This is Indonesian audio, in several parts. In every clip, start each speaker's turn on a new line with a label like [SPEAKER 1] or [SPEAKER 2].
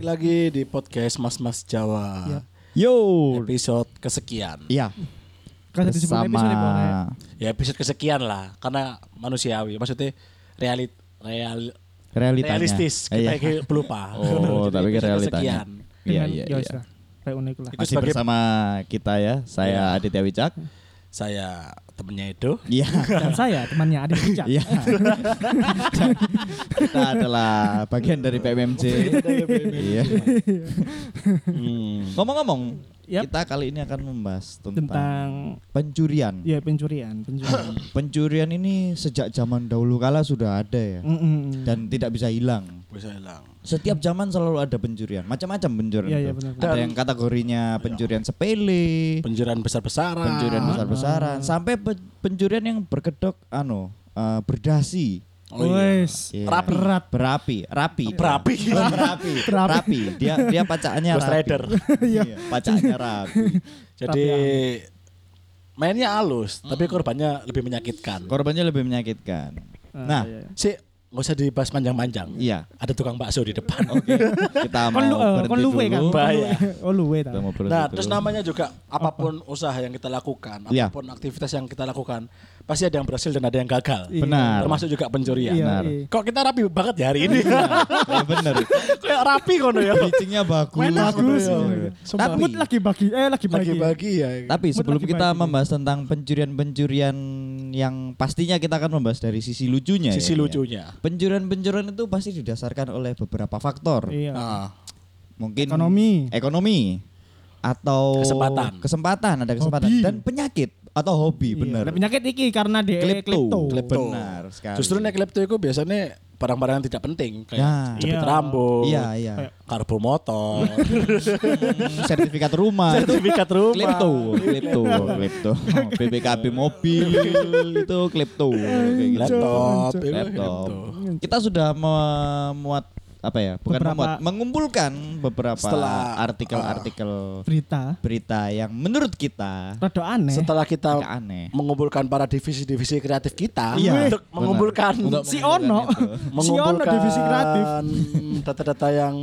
[SPEAKER 1] lagi di podcast Mas Mas Jawa
[SPEAKER 2] Ya.
[SPEAKER 3] Yo.
[SPEAKER 1] episode kesekian.
[SPEAKER 3] Iya.
[SPEAKER 2] Kan satu jumlah episode ya, Bang, ya.
[SPEAKER 3] Bersama
[SPEAKER 1] Ya episode kesekian lah, karena manusiawi. Maksudnya realit real,
[SPEAKER 3] realitanya.
[SPEAKER 1] realistis.
[SPEAKER 3] Iya.
[SPEAKER 1] Kita kayak pelupa.
[SPEAKER 3] Oh,
[SPEAKER 1] Jadi
[SPEAKER 3] tapi
[SPEAKER 1] episode
[SPEAKER 3] realitanya.
[SPEAKER 1] kesekian.
[SPEAKER 3] Iya,
[SPEAKER 2] Dengan-
[SPEAKER 3] iya,
[SPEAKER 2] ya,
[SPEAKER 3] iya.
[SPEAKER 2] sudah. Kayak unik lah.
[SPEAKER 1] Itu
[SPEAKER 3] Masih
[SPEAKER 1] sebagai- Iya.
[SPEAKER 3] bersama kita ya. Saya Aditya Wicak.
[SPEAKER 1] Saya temennya itu.
[SPEAKER 3] Iya.
[SPEAKER 2] Dan saya temannya Adit Wicak.
[SPEAKER 3] Iya. kita adalah bagian dari PMMJ. Iya.
[SPEAKER 1] Hmm.
[SPEAKER 3] Ngomong-ngomong,
[SPEAKER 2] Yap.
[SPEAKER 3] kita kali ini akan membahas tentang,
[SPEAKER 2] Tentang
[SPEAKER 3] pencurian.
[SPEAKER 2] ya pencurian, pencurian.
[SPEAKER 3] Pencurian ini sejak zaman dahulu kala sudah ada ya
[SPEAKER 2] Mm, mm, mm.
[SPEAKER 3] dan tidak bisa hilang.
[SPEAKER 1] Bisa hilang.
[SPEAKER 3] Setiap zaman selalu ada pencurian, macam-macam pencurian.
[SPEAKER 2] Iya,
[SPEAKER 3] itu.
[SPEAKER 2] iya, benar,
[SPEAKER 3] ada
[SPEAKER 1] benar.
[SPEAKER 3] yang kategorinya pencurian sepele,
[SPEAKER 1] Penjuran besar-besaran.
[SPEAKER 3] pencurian
[SPEAKER 2] Ah.
[SPEAKER 3] besar-besaran, sampai pe- pencurian yang berkedok anu eh, berdasi.
[SPEAKER 1] Oh, iya.
[SPEAKER 2] Wes.
[SPEAKER 3] Iya.
[SPEAKER 1] Rapi.
[SPEAKER 3] Berat. Berapi, rapi.
[SPEAKER 1] Berapi.
[SPEAKER 3] Bukan berapi,
[SPEAKER 2] Berapi.
[SPEAKER 3] rapi. Dia dia pacaannya
[SPEAKER 1] Ghost
[SPEAKER 3] rapi.
[SPEAKER 1] Rider.
[SPEAKER 3] Iya, pacaannya rapi.
[SPEAKER 1] Jadi mainnya halus,
[SPEAKER 3] Hmm.
[SPEAKER 1] tapi korbannya lebih menyakitkan.
[SPEAKER 3] Korbannya lebih menyakitkan.
[SPEAKER 2] Ah,
[SPEAKER 3] Nah,
[SPEAKER 2] iya, iya.
[SPEAKER 1] Si nggak usah dibahas panjang-panjang.
[SPEAKER 3] iya.
[SPEAKER 1] Ada tukang bakso di depan.
[SPEAKER 3] Oke, kita
[SPEAKER 2] Kon lu
[SPEAKER 3] mau
[SPEAKER 2] eh,
[SPEAKER 3] berhenti
[SPEAKER 2] kon luwe kan?
[SPEAKER 3] dulu.
[SPEAKER 2] Kon
[SPEAKER 1] Bahaya.
[SPEAKER 2] luwe. Oh luwe ta.
[SPEAKER 3] Kita mau berhenti
[SPEAKER 1] Nah, terus
[SPEAKER 3] dulu.
[SPEAKER 1] namanya juga apapun usaha yang kita lakukan,
[SPEAKER 3] Iya.
[SPEAKER 1] apapun aktivitas yang kita lakukan, pasti ada yang berhasil dan ada yang gagal.
[SPEAKER 2] Iya.
[SPEAKER 3] Benar.
[SPEAKER 1] Termasuk juga pencurian.
[SPEAKER 2] Iya,
[SPEAKER 3] Benar.
[SPEAKER 2] iya.
[SPEAKER 1] Kok kita rapi banget ya hari ini?
[SPEAKER 3] Ya bener.
[SPEAKER 1] Kayak rapi kono ya.
[SPEAKER 3] Pitchingnya bagus.
[SPEAKER 1] Mainnya
[SPEAKER 2] Bagus.
[SPEAKER 1] Iya,
[SPEAKER 3] Bener.
[SPEAKER 2] Sumpah.
[SPEAKER 3] Tapi-
[SPEAKER 2] Mood lagi bagi eh lagi bagi.
[SPEAKER 1] Bagi-bagi ya.
[SPEAKER 3] Tapi
[SPEAKER 2] Mood
[SPEAKER 3] sebelum
[SPEAKER 2] lagi
[SPEAKER 3] kita
[SPEAKER 2] baik.
[SPEAKER 3] membahas tentang pencurian-pencurian yang pastinya kita akan membahas dari sisi lucunya ya,
[SPEAKER 1] Sisi
[SPEAKER 3] ini ya.
[SPEAKER 1] lucunya.
[SPEAKER 3] Pencurian-pencurian itu pasti didasarkan oleh beberapa faktor.
[SPEAKER 2] Iya.
[SPEAKER 1] Ah,
[SPEAKER 3] Mungkin
[SPEAKER 2] Ekonomi.
[SPEAKER 3] ekonomi atau
[SPEAKER 1] Kesempatan.
[SPEAKER 3] kesempatan, ada kesempatan
[SPEAKER 2] Hobi.
[SPEAKER 3] dan penyakit atau hobi
[SPEAKER 2] Iya.
[SPEAKER 3] benar.
[SPEAKER 2] Lah, Penyakit iki karena dia klepto.
[SPEAKER 1] Klepto.
[SPEAKER 3] Benar sekali.
[SPEAKER 1] Justru nek klepto itu biasanya barang-barang yang tidak penting kayak
[SPEAKER 3] Ya.
[SPEAKER 1] jepit
[SPEAKER 2] Iya.
[SPEAKER 1] rambut,
[SPEAKER 3] Iya, iya.
[SPEAKER 1] karbo motor,
[SPEAKER 3] Hmm, sertifikat rumah itu
[SPEAKER 1] sertifikat rumah.
[SPEAKER 3] klepto, klepto, klepto. BPKB mobil itu klepto kayak gitu.
[SPEAKER 1] Laptop, ya kan? Gitu. itu
[SPEAKER 3] laptop.
[SPEAKER 1] klepto.
[SPEAKER 3] Kita sudah memuat apa ya? Bukan
[SPEAKER 2] Beberapa-
[SPEAKER 3] memuat, mengumpulkan beberapa
[SPEAKER 1] Setelah, ah.
[SPEAKER 3] artikel-artikel
[SPEAKER 2] Berita.
[SPEAKER 3] berita yang menurut kita
[SPEAKER 2] Rada aneh.
[SPEAKER 1] Setelah kita
[SPEAKER 3] agak aneh.
[SPEAKER 1] mengumpulkan para divisi-divisi kreatif kita
[SPEAKER 3] Iya,
[SPEAKER 1] untuk
[SPEAKER 3] benar.
[SPEAKER 1] mengumpulkan
[SPEAKER 3] Untuk
[SPEAKER 2] Mm, si
[SPEAKER 3] mengumpulkan
[SPEAKER 2] Ono.
[SPEAKER 3] itu.
[SPEAKER 2] Si Ono
[SPEAKER 1] mengumpulkan
[SPEAKER 2] divisi kreatif.
[SPEAKER 1] data-data yang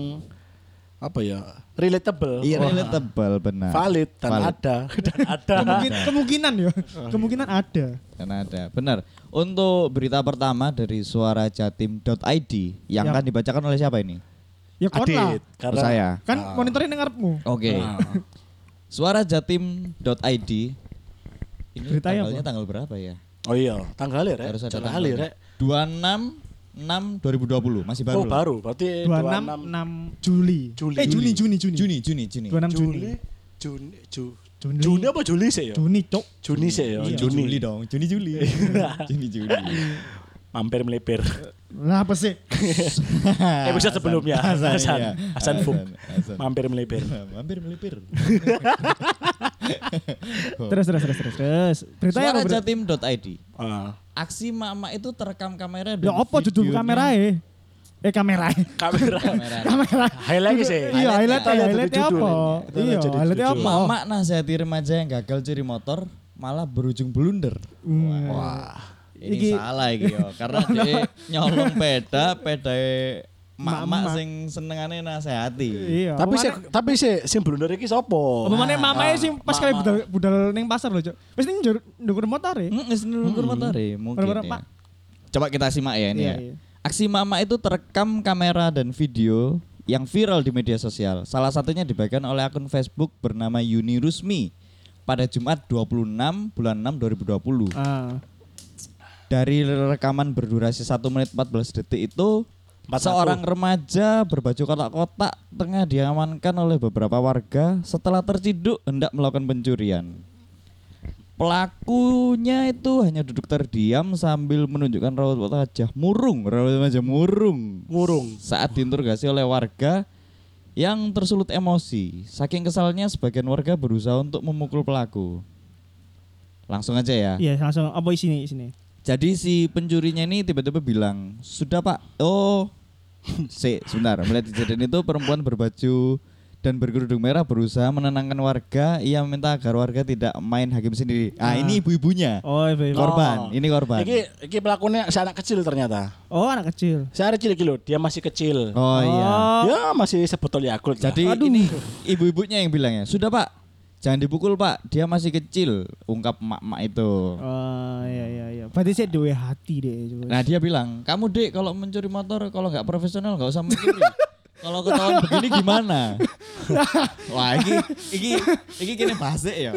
[SPEAKER 1] apa ya relatable,
[SPEAKER 3] Iya,
[SPEAKER 1] Wah,
[SPEAKER 3] relatable benar.
[SPEAKER 1] valid dan
[SPEAKER 3] Valid.
[SPEAKER 1] ada dan ada
[SPEAKER 2] Mungkin- kemungkinan ya. Kemungkinan ada.
[SPEAKER 3] Karena ada. Benar. Untuk berita pertama dari suarajatim.id yang
[SPEAKER 2] Yap.
[SPEAKER 3] akan dibacakan oleh siapa ini?
[SPEAKER 2] Ya kon lah.
[SPEAKER 1] Adit Iya. karena
[SPEAKER 3] Saya.
[SPEAKER 2] Kan
[SPEAKER 1] Ah.
[SPEAKER 2] monitorin yang ngarepmu.
[SPEAKER 3] Oke.
[SPEAKER 1] Nah,
[SPEAKER 3] Suarajatim.id ini
[SPEAKER 2] Berita ya,
[SPEAKER 3] tanggalnya
[SPEAKER 2] Bu?
[SPEAKER 3] tanggal berapa ya?
[SPEAKER 1] oh iya tanggalnya rek
[SPEAKER 3] Harus ada
[SPEAKER 1] tanggalnya rek
[SPEAKER 3] tanggalnya. 26 6 2020 masih baru.
[SPEAKER 1] oh
[SPEAKER 3] lah.
[SPEAKER 1] baru berarti 26
[SPEAKER 2] 26 6 Juli.
[SPEAKER 1] Juli.
[SPEAKER 2] Eh Juni Juni Juni.
[SPEAKER 3] Juni Juni Juni.
[SPEAKER 2] 26 Juni.
[SPEAKER 1] Juli Juni Ju-
[SPEAKER 2] Juni.
[SPEAKER 1] Juni apa Juli sih ya
[SPEAKER 2] Juni, Cok.
[SPEAKER 1] Juni sih ya
[SPEAKER 2] Iya.
[SPEAKER 1] Juni
[SPEAKER 3] dong, Juni Juli. Juni Juli.
[SPEAKER 1] mampir melipir
[SPEAKER 2] Lah apa sih?
[SPEAKER 1] episode sebelumnya Hasan Hasan,
[SPEAKER 3] Ah, iya.
[SPEAKER 1] Hasan Fuk
[SPEAKER 3] Hasan.
[SPEAKER 1] mampir melipir
[SPEAKER 3] Hampir melipir.
[SPEAKER 2] Terus terus terus terus. terus. Berita ya apa? Berita?
[SPEAKER 3] Suarajatim.id.
[SPEAKER 1] Ah.
[SPEAKER 3] Aksi mama itu terekam kamera
[SPEAKER 2] Ya
[SPEAKER 3] dan
[SPEAKER 2] apa judul
[SPEAKER 3] videonya-
[SPEAKER 2] kamerae? Eh kamerae.
[SPEAKER 1] kamera
[SPEAKER 3] Kamera.
[SPEAKER 2] Kamera.
[SPEAKER 1] highlight sih
[SPEAKER 2] Iya, highlight
[SPEAKER 1] Highlight
[SPEAKER 2] highlight
[SPEAKER 1] jadi judul
[SPEAKER 2] apa?
[SPEAKER 1] ini. Kita
[SPEAKER 2] Iya,
[SPEAKER 1] jadi
[SPEAKER 2] highlight
[SPEAKER 1] judul.
[SPEAKER 2] apa?
[SPEAKER 3] Mama nasihati remaja yang gagal curi motor malah berujung blunder.
[SPEAKER 2] Hmm.
[SPEAKER 3] Ini
[SPEAKER 2] Iki-
[SPEAKER 3] salah iki yo, karena dia nyolong peda, peda
[SPEAKER 2] Mama.
[SPEAKER 3] mama sing senengane nasehati.
[SPEAKER 2] Iya.
[SPEAKER 1] tapi sih tapi sih sing blunder iki sapa Ah,
[SPEAKER 2] Pemane mamae sih pas
[SPEAKER 1] Mama.
[SPEAKER 2] kali budal budal ning pasar lho, Cok. Wis ning njur- ndukur motor e.
[SPEAKER 3] Heeh, nulur motor ya, mungkin.
[SPEAKER 2] Bener-bener,
[SPEAKER 3] ya.
[SPEAKER 2] Pak.
[SPEAKER 3] Coba kita simak ya ini
[SPEAKER 2] Iya,
[SPEAKER 3] ya.
[SPEAKER 2] iya.
[SPEAKER 3] Aksi mama itu terekam kamera dan video yang viral di media sosial. Salah satunya dibagikan oleh akun Facebook bernama Yuni Rusmi pada Jumat 26 bulan 6 2020.
[SPEAKER 2] Ah.
[SPEAKER 3] Dari rekaman berdurasi 1 menit 14 detik itu
[SPEAKER 1] 41.
[SPEAKER 3] seorang remaja berbaju kotak-kotak tengah diamankan oleh beberapa warga setelah terciduk hendak melakukan pencurian. Pelakunya itu hanya duduk terdiam sambil menunjukkan raut wajah murung, raut wajah murung
[SPEAKER 1] murung
[SPEAKER 3] saat diinterogasi oleh warga yang tersulut emosi. Saking kesalnya sebagian warga berusaha untuk memukul pelaku. Langsung aja ya.
[SPEAKER 2] Iya, langsung apa isine isine?
[SPEAKER 3] Jadi si pencurinya ini tiba-tiba bilang, "Sudah, Pak." Oh. Se, sebentar. Melihat kejadian itu perempuan berbaju dan berkerudung merah berusaha menenangkan warga. Ia meminta agar warga tidak main hakim sendiri. Ah, ini ibu-ibunya.
[SPEAKER 2] Oh, iya, iya.
[SPEAKER 3] Korban, ini korban.
[SPEAKER 1] Iki iki pelakunya si anak kecil ternyata.
[SPEAKER 2] oh anak kecil.
[SPEAKER 1] Si anak kecil iki lho, dia masih kecil.
[SPEAKER 3] Oh iya.
[SPEAKER 1] Ya masih sebotol Yakult. lah.
[SPEAKER 3] Jadi ini ibu-ibunya yang bilang ya, sudah pak, jangan dipukul pak, dia masih kecil, ungkap emak-emak itu.
[SPEAKER 2] Oh iya iya iya. Berarti saya duwe hati deh. Coba.
[SPEAKER 3] Nah dia bilang, kamu dek kalau mencuri motor, kalau nggak profesional nggak usah mencuri. kalau ketahuan begini gimana? Wah, ini ini ini kini bahasa ya.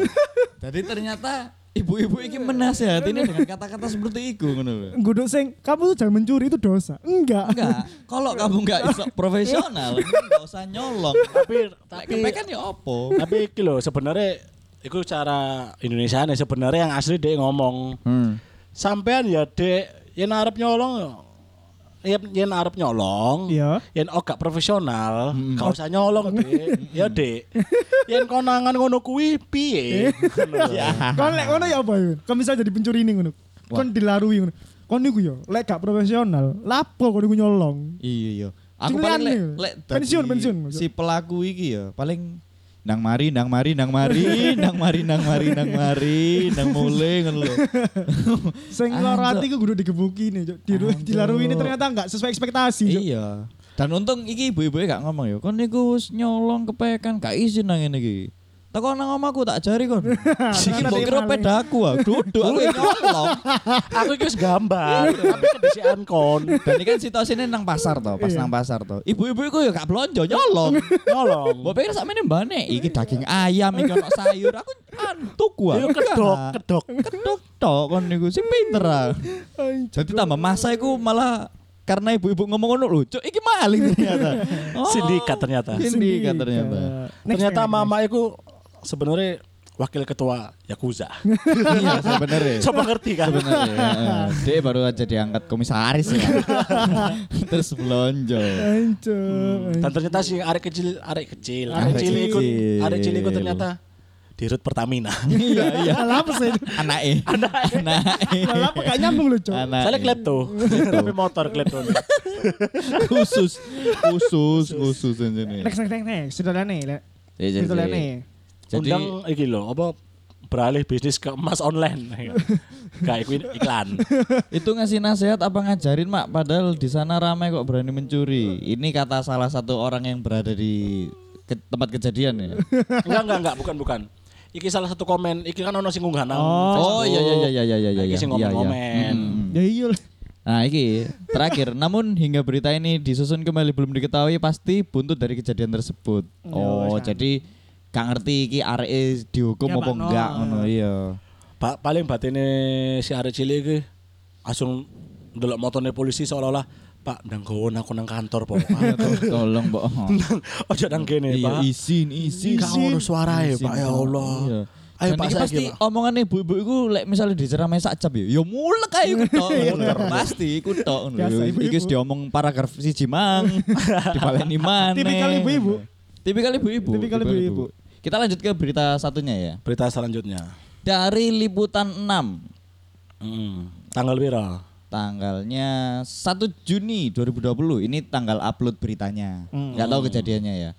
[SPEAKER 3] Jadi ternyata ibu-ibu ini menasehatinya dengan kata-kata seperti itu, ngono lho.
[SPEAKER 2] Guduk sing, kamu tuh jangan mencuri itu dosa. Enggak.
[SPEAKER 3] Enggak, kalau kamu nggak iso profesional, nggak usah nyolong.
[SPEAKER 1] tapi tapi
[SPEAKER 3] Tapi kan ya opo.
[SPEAKER 1] tapi iki lho sebenarnya iku cara Indonesia sebenarnya yang asli dia ngomong.
[SPEAKER 3] Hmm.
[SPEAKER 1] Sampean ya Dek, yen arep nyolong yen yen arep nyolong.
[SPEAKER 2] Iya.
[SPEAKER 1] Yen ogak profesional, gak usah nyolong, Dek. ya, Dek. Yen konangan ngono kuwi piye? Ngono.
[SPEAKER 2] Ya. Kon lek ngono ya apa yun? Kon bisa jadi pencuri ini ngono. Kon dilarui ngono. Kon niku yo lek gak profesional, lapo kon niku nyolong.
[SPEAKER 3] Iya iya. Aku
[SPEAKER 2] Cilian
[SPEAKER 3] paling lek,
[SPEAKER 2] nih.
[SPEAKER 3] lek
[SPEAKER 2] Pensiun,
[SPEAKER 3] dadi
[SPEAKER 2] pensiun.
[SPEAKER 3] Si pelaku iki ya paling nang mari nang mari nang mari nang mari nang mari nang mari nang mule ngono lho.
[SPEAKER 2] Sing
[SPEAKER 3] Anjok.
[SPEAKER 2] lara hati ku kudu digebuki nih, Cuk. Diru-
[SPEAKER 3] Anjok.
[SPEAKER 2] dilarui ini ternyata enggak sesuai ekspektasi, Cuk.
[SPEAKER 3] Ah, Iya. Dan untung iki ibu-ibu gak ngomong ya. Kon niku wis nyolong kepekan gak izin nang ngene iki. Teko nang omahku tak jari kon. Iki mbok kira
[SPEAKER 2] Ternyata
[SPEAKER 3] pedaku aku duduk aku yang nyolong.
[SPEAKER 1] Aku iki wis gambar, tapi kedisian kon.
[SPEAKER 3] Dan ini kan situasinya nang pasar toh, pas nang pasar toh. Ibu-ibu iku ya gak blonjo nyolong.
[SPEAKER 1] Nyolong.
[SPEAKER 3] Mbok pikir sakmene mbane iki daging ayam iki ono sayur aku antuk gua.
[SPEAKER 1] Iya kedok, kedok.
[SPEAKER 3] Kedok tok kon niku sing pinter. ah.
[SPEAKER 2] Anjok.
[SPEAKER 3] Jadi tambah masa iku malah karena ibu-ibu ngomong ngono lho, cuk iki maling ternyata. Oh,
[SPEAKER 1] Sindikat ternyata.
[SPEAKER 3] Sindikat kan ternyata.
[SPEAKER 2] Next,
[SPEAKER 1] ternyata
[SPEAKER 2] next,
[SPEAKER 1] mama iku sebenarnya wakil ketua Yakuza.
[SPEAKER 3] iya sebenarnya.
[SPEAKER 1] Coba ngerti kan?
[SPEAKER 3] Sebenarnya. heeh. Dia baru aja diangkat komisaris ya. Terus belonjo.
[SPEAKER 2] next.
[SPEAKER 3] Hmm.
[SPEAKER 2] Anjok.
[SPEAKER 1] Dan ternyata si arek kecil, arek kecil,
[SPEAKER 3] Arek
[SPEAKER 1] arek kecil ikut,
[SPEAKER 3] kecil.
[SPEAKER 1] arek kecil ikut ternyata di rut Pertamina.
[SPEAKER 3] Iya iya.
[SPEAKER 2] Lah apa sih?
[SPEAKER 3] Anake. Anake. Anake.
[SPEAKER 2] Lah apa gak nyambung lho, Cuk.
[SPEAKER 1] Soalnya klepto, tapi motor klepto.
[SPEAKER 3] khusus khusus khusus ini.
[SPEAKER 2] Next next next next. Sudah nih, Lek.
[SPEAKER 3] Iya, jadi-
[SPEAKER 2] Sudah nih.
[SPEAKER 3] Jadi
[SPEAKER 1] Undang iki lho, apa beralih bisnis ke emas online. Kayak iku iklan.
[SPEAKER 3] itu ngasih nasihat apa ngajarin mak padahal di sana ramai kok berani mencuri. Ini kata salah satu orang yang berada di ke- tempat kejadian ya.
[SPEAKER 1] Enggak enggak enggak, bukan bukan. Iki salah satu komen, iki kan ono sing unggah nang
[SPEAKER 3] Oh,
[SPEAKER 1] Facebook. Nah,
[SPEAKER 3] iya iya iya iya iya iya.
[SPEAKER 1] Iki sing
[SPEAKER 3] iya, iya.
[SPEAKER 1] komen-komen.
[SPEAKER 3] Mm-mm.
[SPEAKER 2] Ya iya. lah.
[SPEAKER 3] Nah, iki terakhir. Namun hingga berita ini disusun kembali belum diketahui pasti buntut dari kejadian tersebut.
[SPEAKER 2] Iya,
[SPEAKER 3] Oh, jadi gak ngerti iki areke dihukum
[SPEAKER 2] Ya,
[SPEAKER 3] apa
[SPEAKER 2] kan. Pak, no.
[SPEAKER 3] enggak ngono iya.
[SPEAKER 1] Ba- paling batine si arek cilik iki langsung ndelok motone polisi seolah-olah Pak ndang gowon aku nang kantor po. Pak."
[SPEAKER 3] Iya, Tolong, Mbok.
[SPEAKER 1] Nang- Ojo nang kene,
[SPEAKER 3] Iya,
[SPEAKER 1] Ya, Pak.
[SPEAKER 3] izin, izin.
[SPEAKER 1] Gak ono suarae, Pak. Ya Allah.
[SPEAKER 3] Iya.
[SPEAKER 1] Ayo
[SPEAKER 3] Dan
[SPEAKER 1] Pak
[SPEAKER 3] iki
[SPEAKER 1] saiki,
[SPEAKER 3] pasti
[SPEAKER 1] Pak.
[SPEAKER 3] omongannya ibu-ibu itu lek misalnya diceramai sak jam ya, ya mulek
[SPEAKER 1] Iya.
[SPEAKER 3] ae iku tok. Bener, Pasti iku tok.
[SPEAKER 2] Biasa, ibu-ibu.
[SPEAKER 3] Iki wis diomong paragraf siji mang, dibaleni maneh.
[SPEAKER 2] Tipikal ibu-ibu.
[SPEAKER 3] Tipikal ibu-ibu.
[SPEAKER 2] Tipikal ibu-ibu.
[SPEAKER 3] Kita lanjut ke berita satunya ya.
[SPEAKER 1] Berita selanjutnya.
[SPEAKER 3] Dari liputan 6
[SPEAKER 1] Mm. Tanggal piro?
[SPEAKER 3] tanggalnya 1 Juni 2020. Ini tanggal upload beritanya. nggak tahu kejadiannya ya.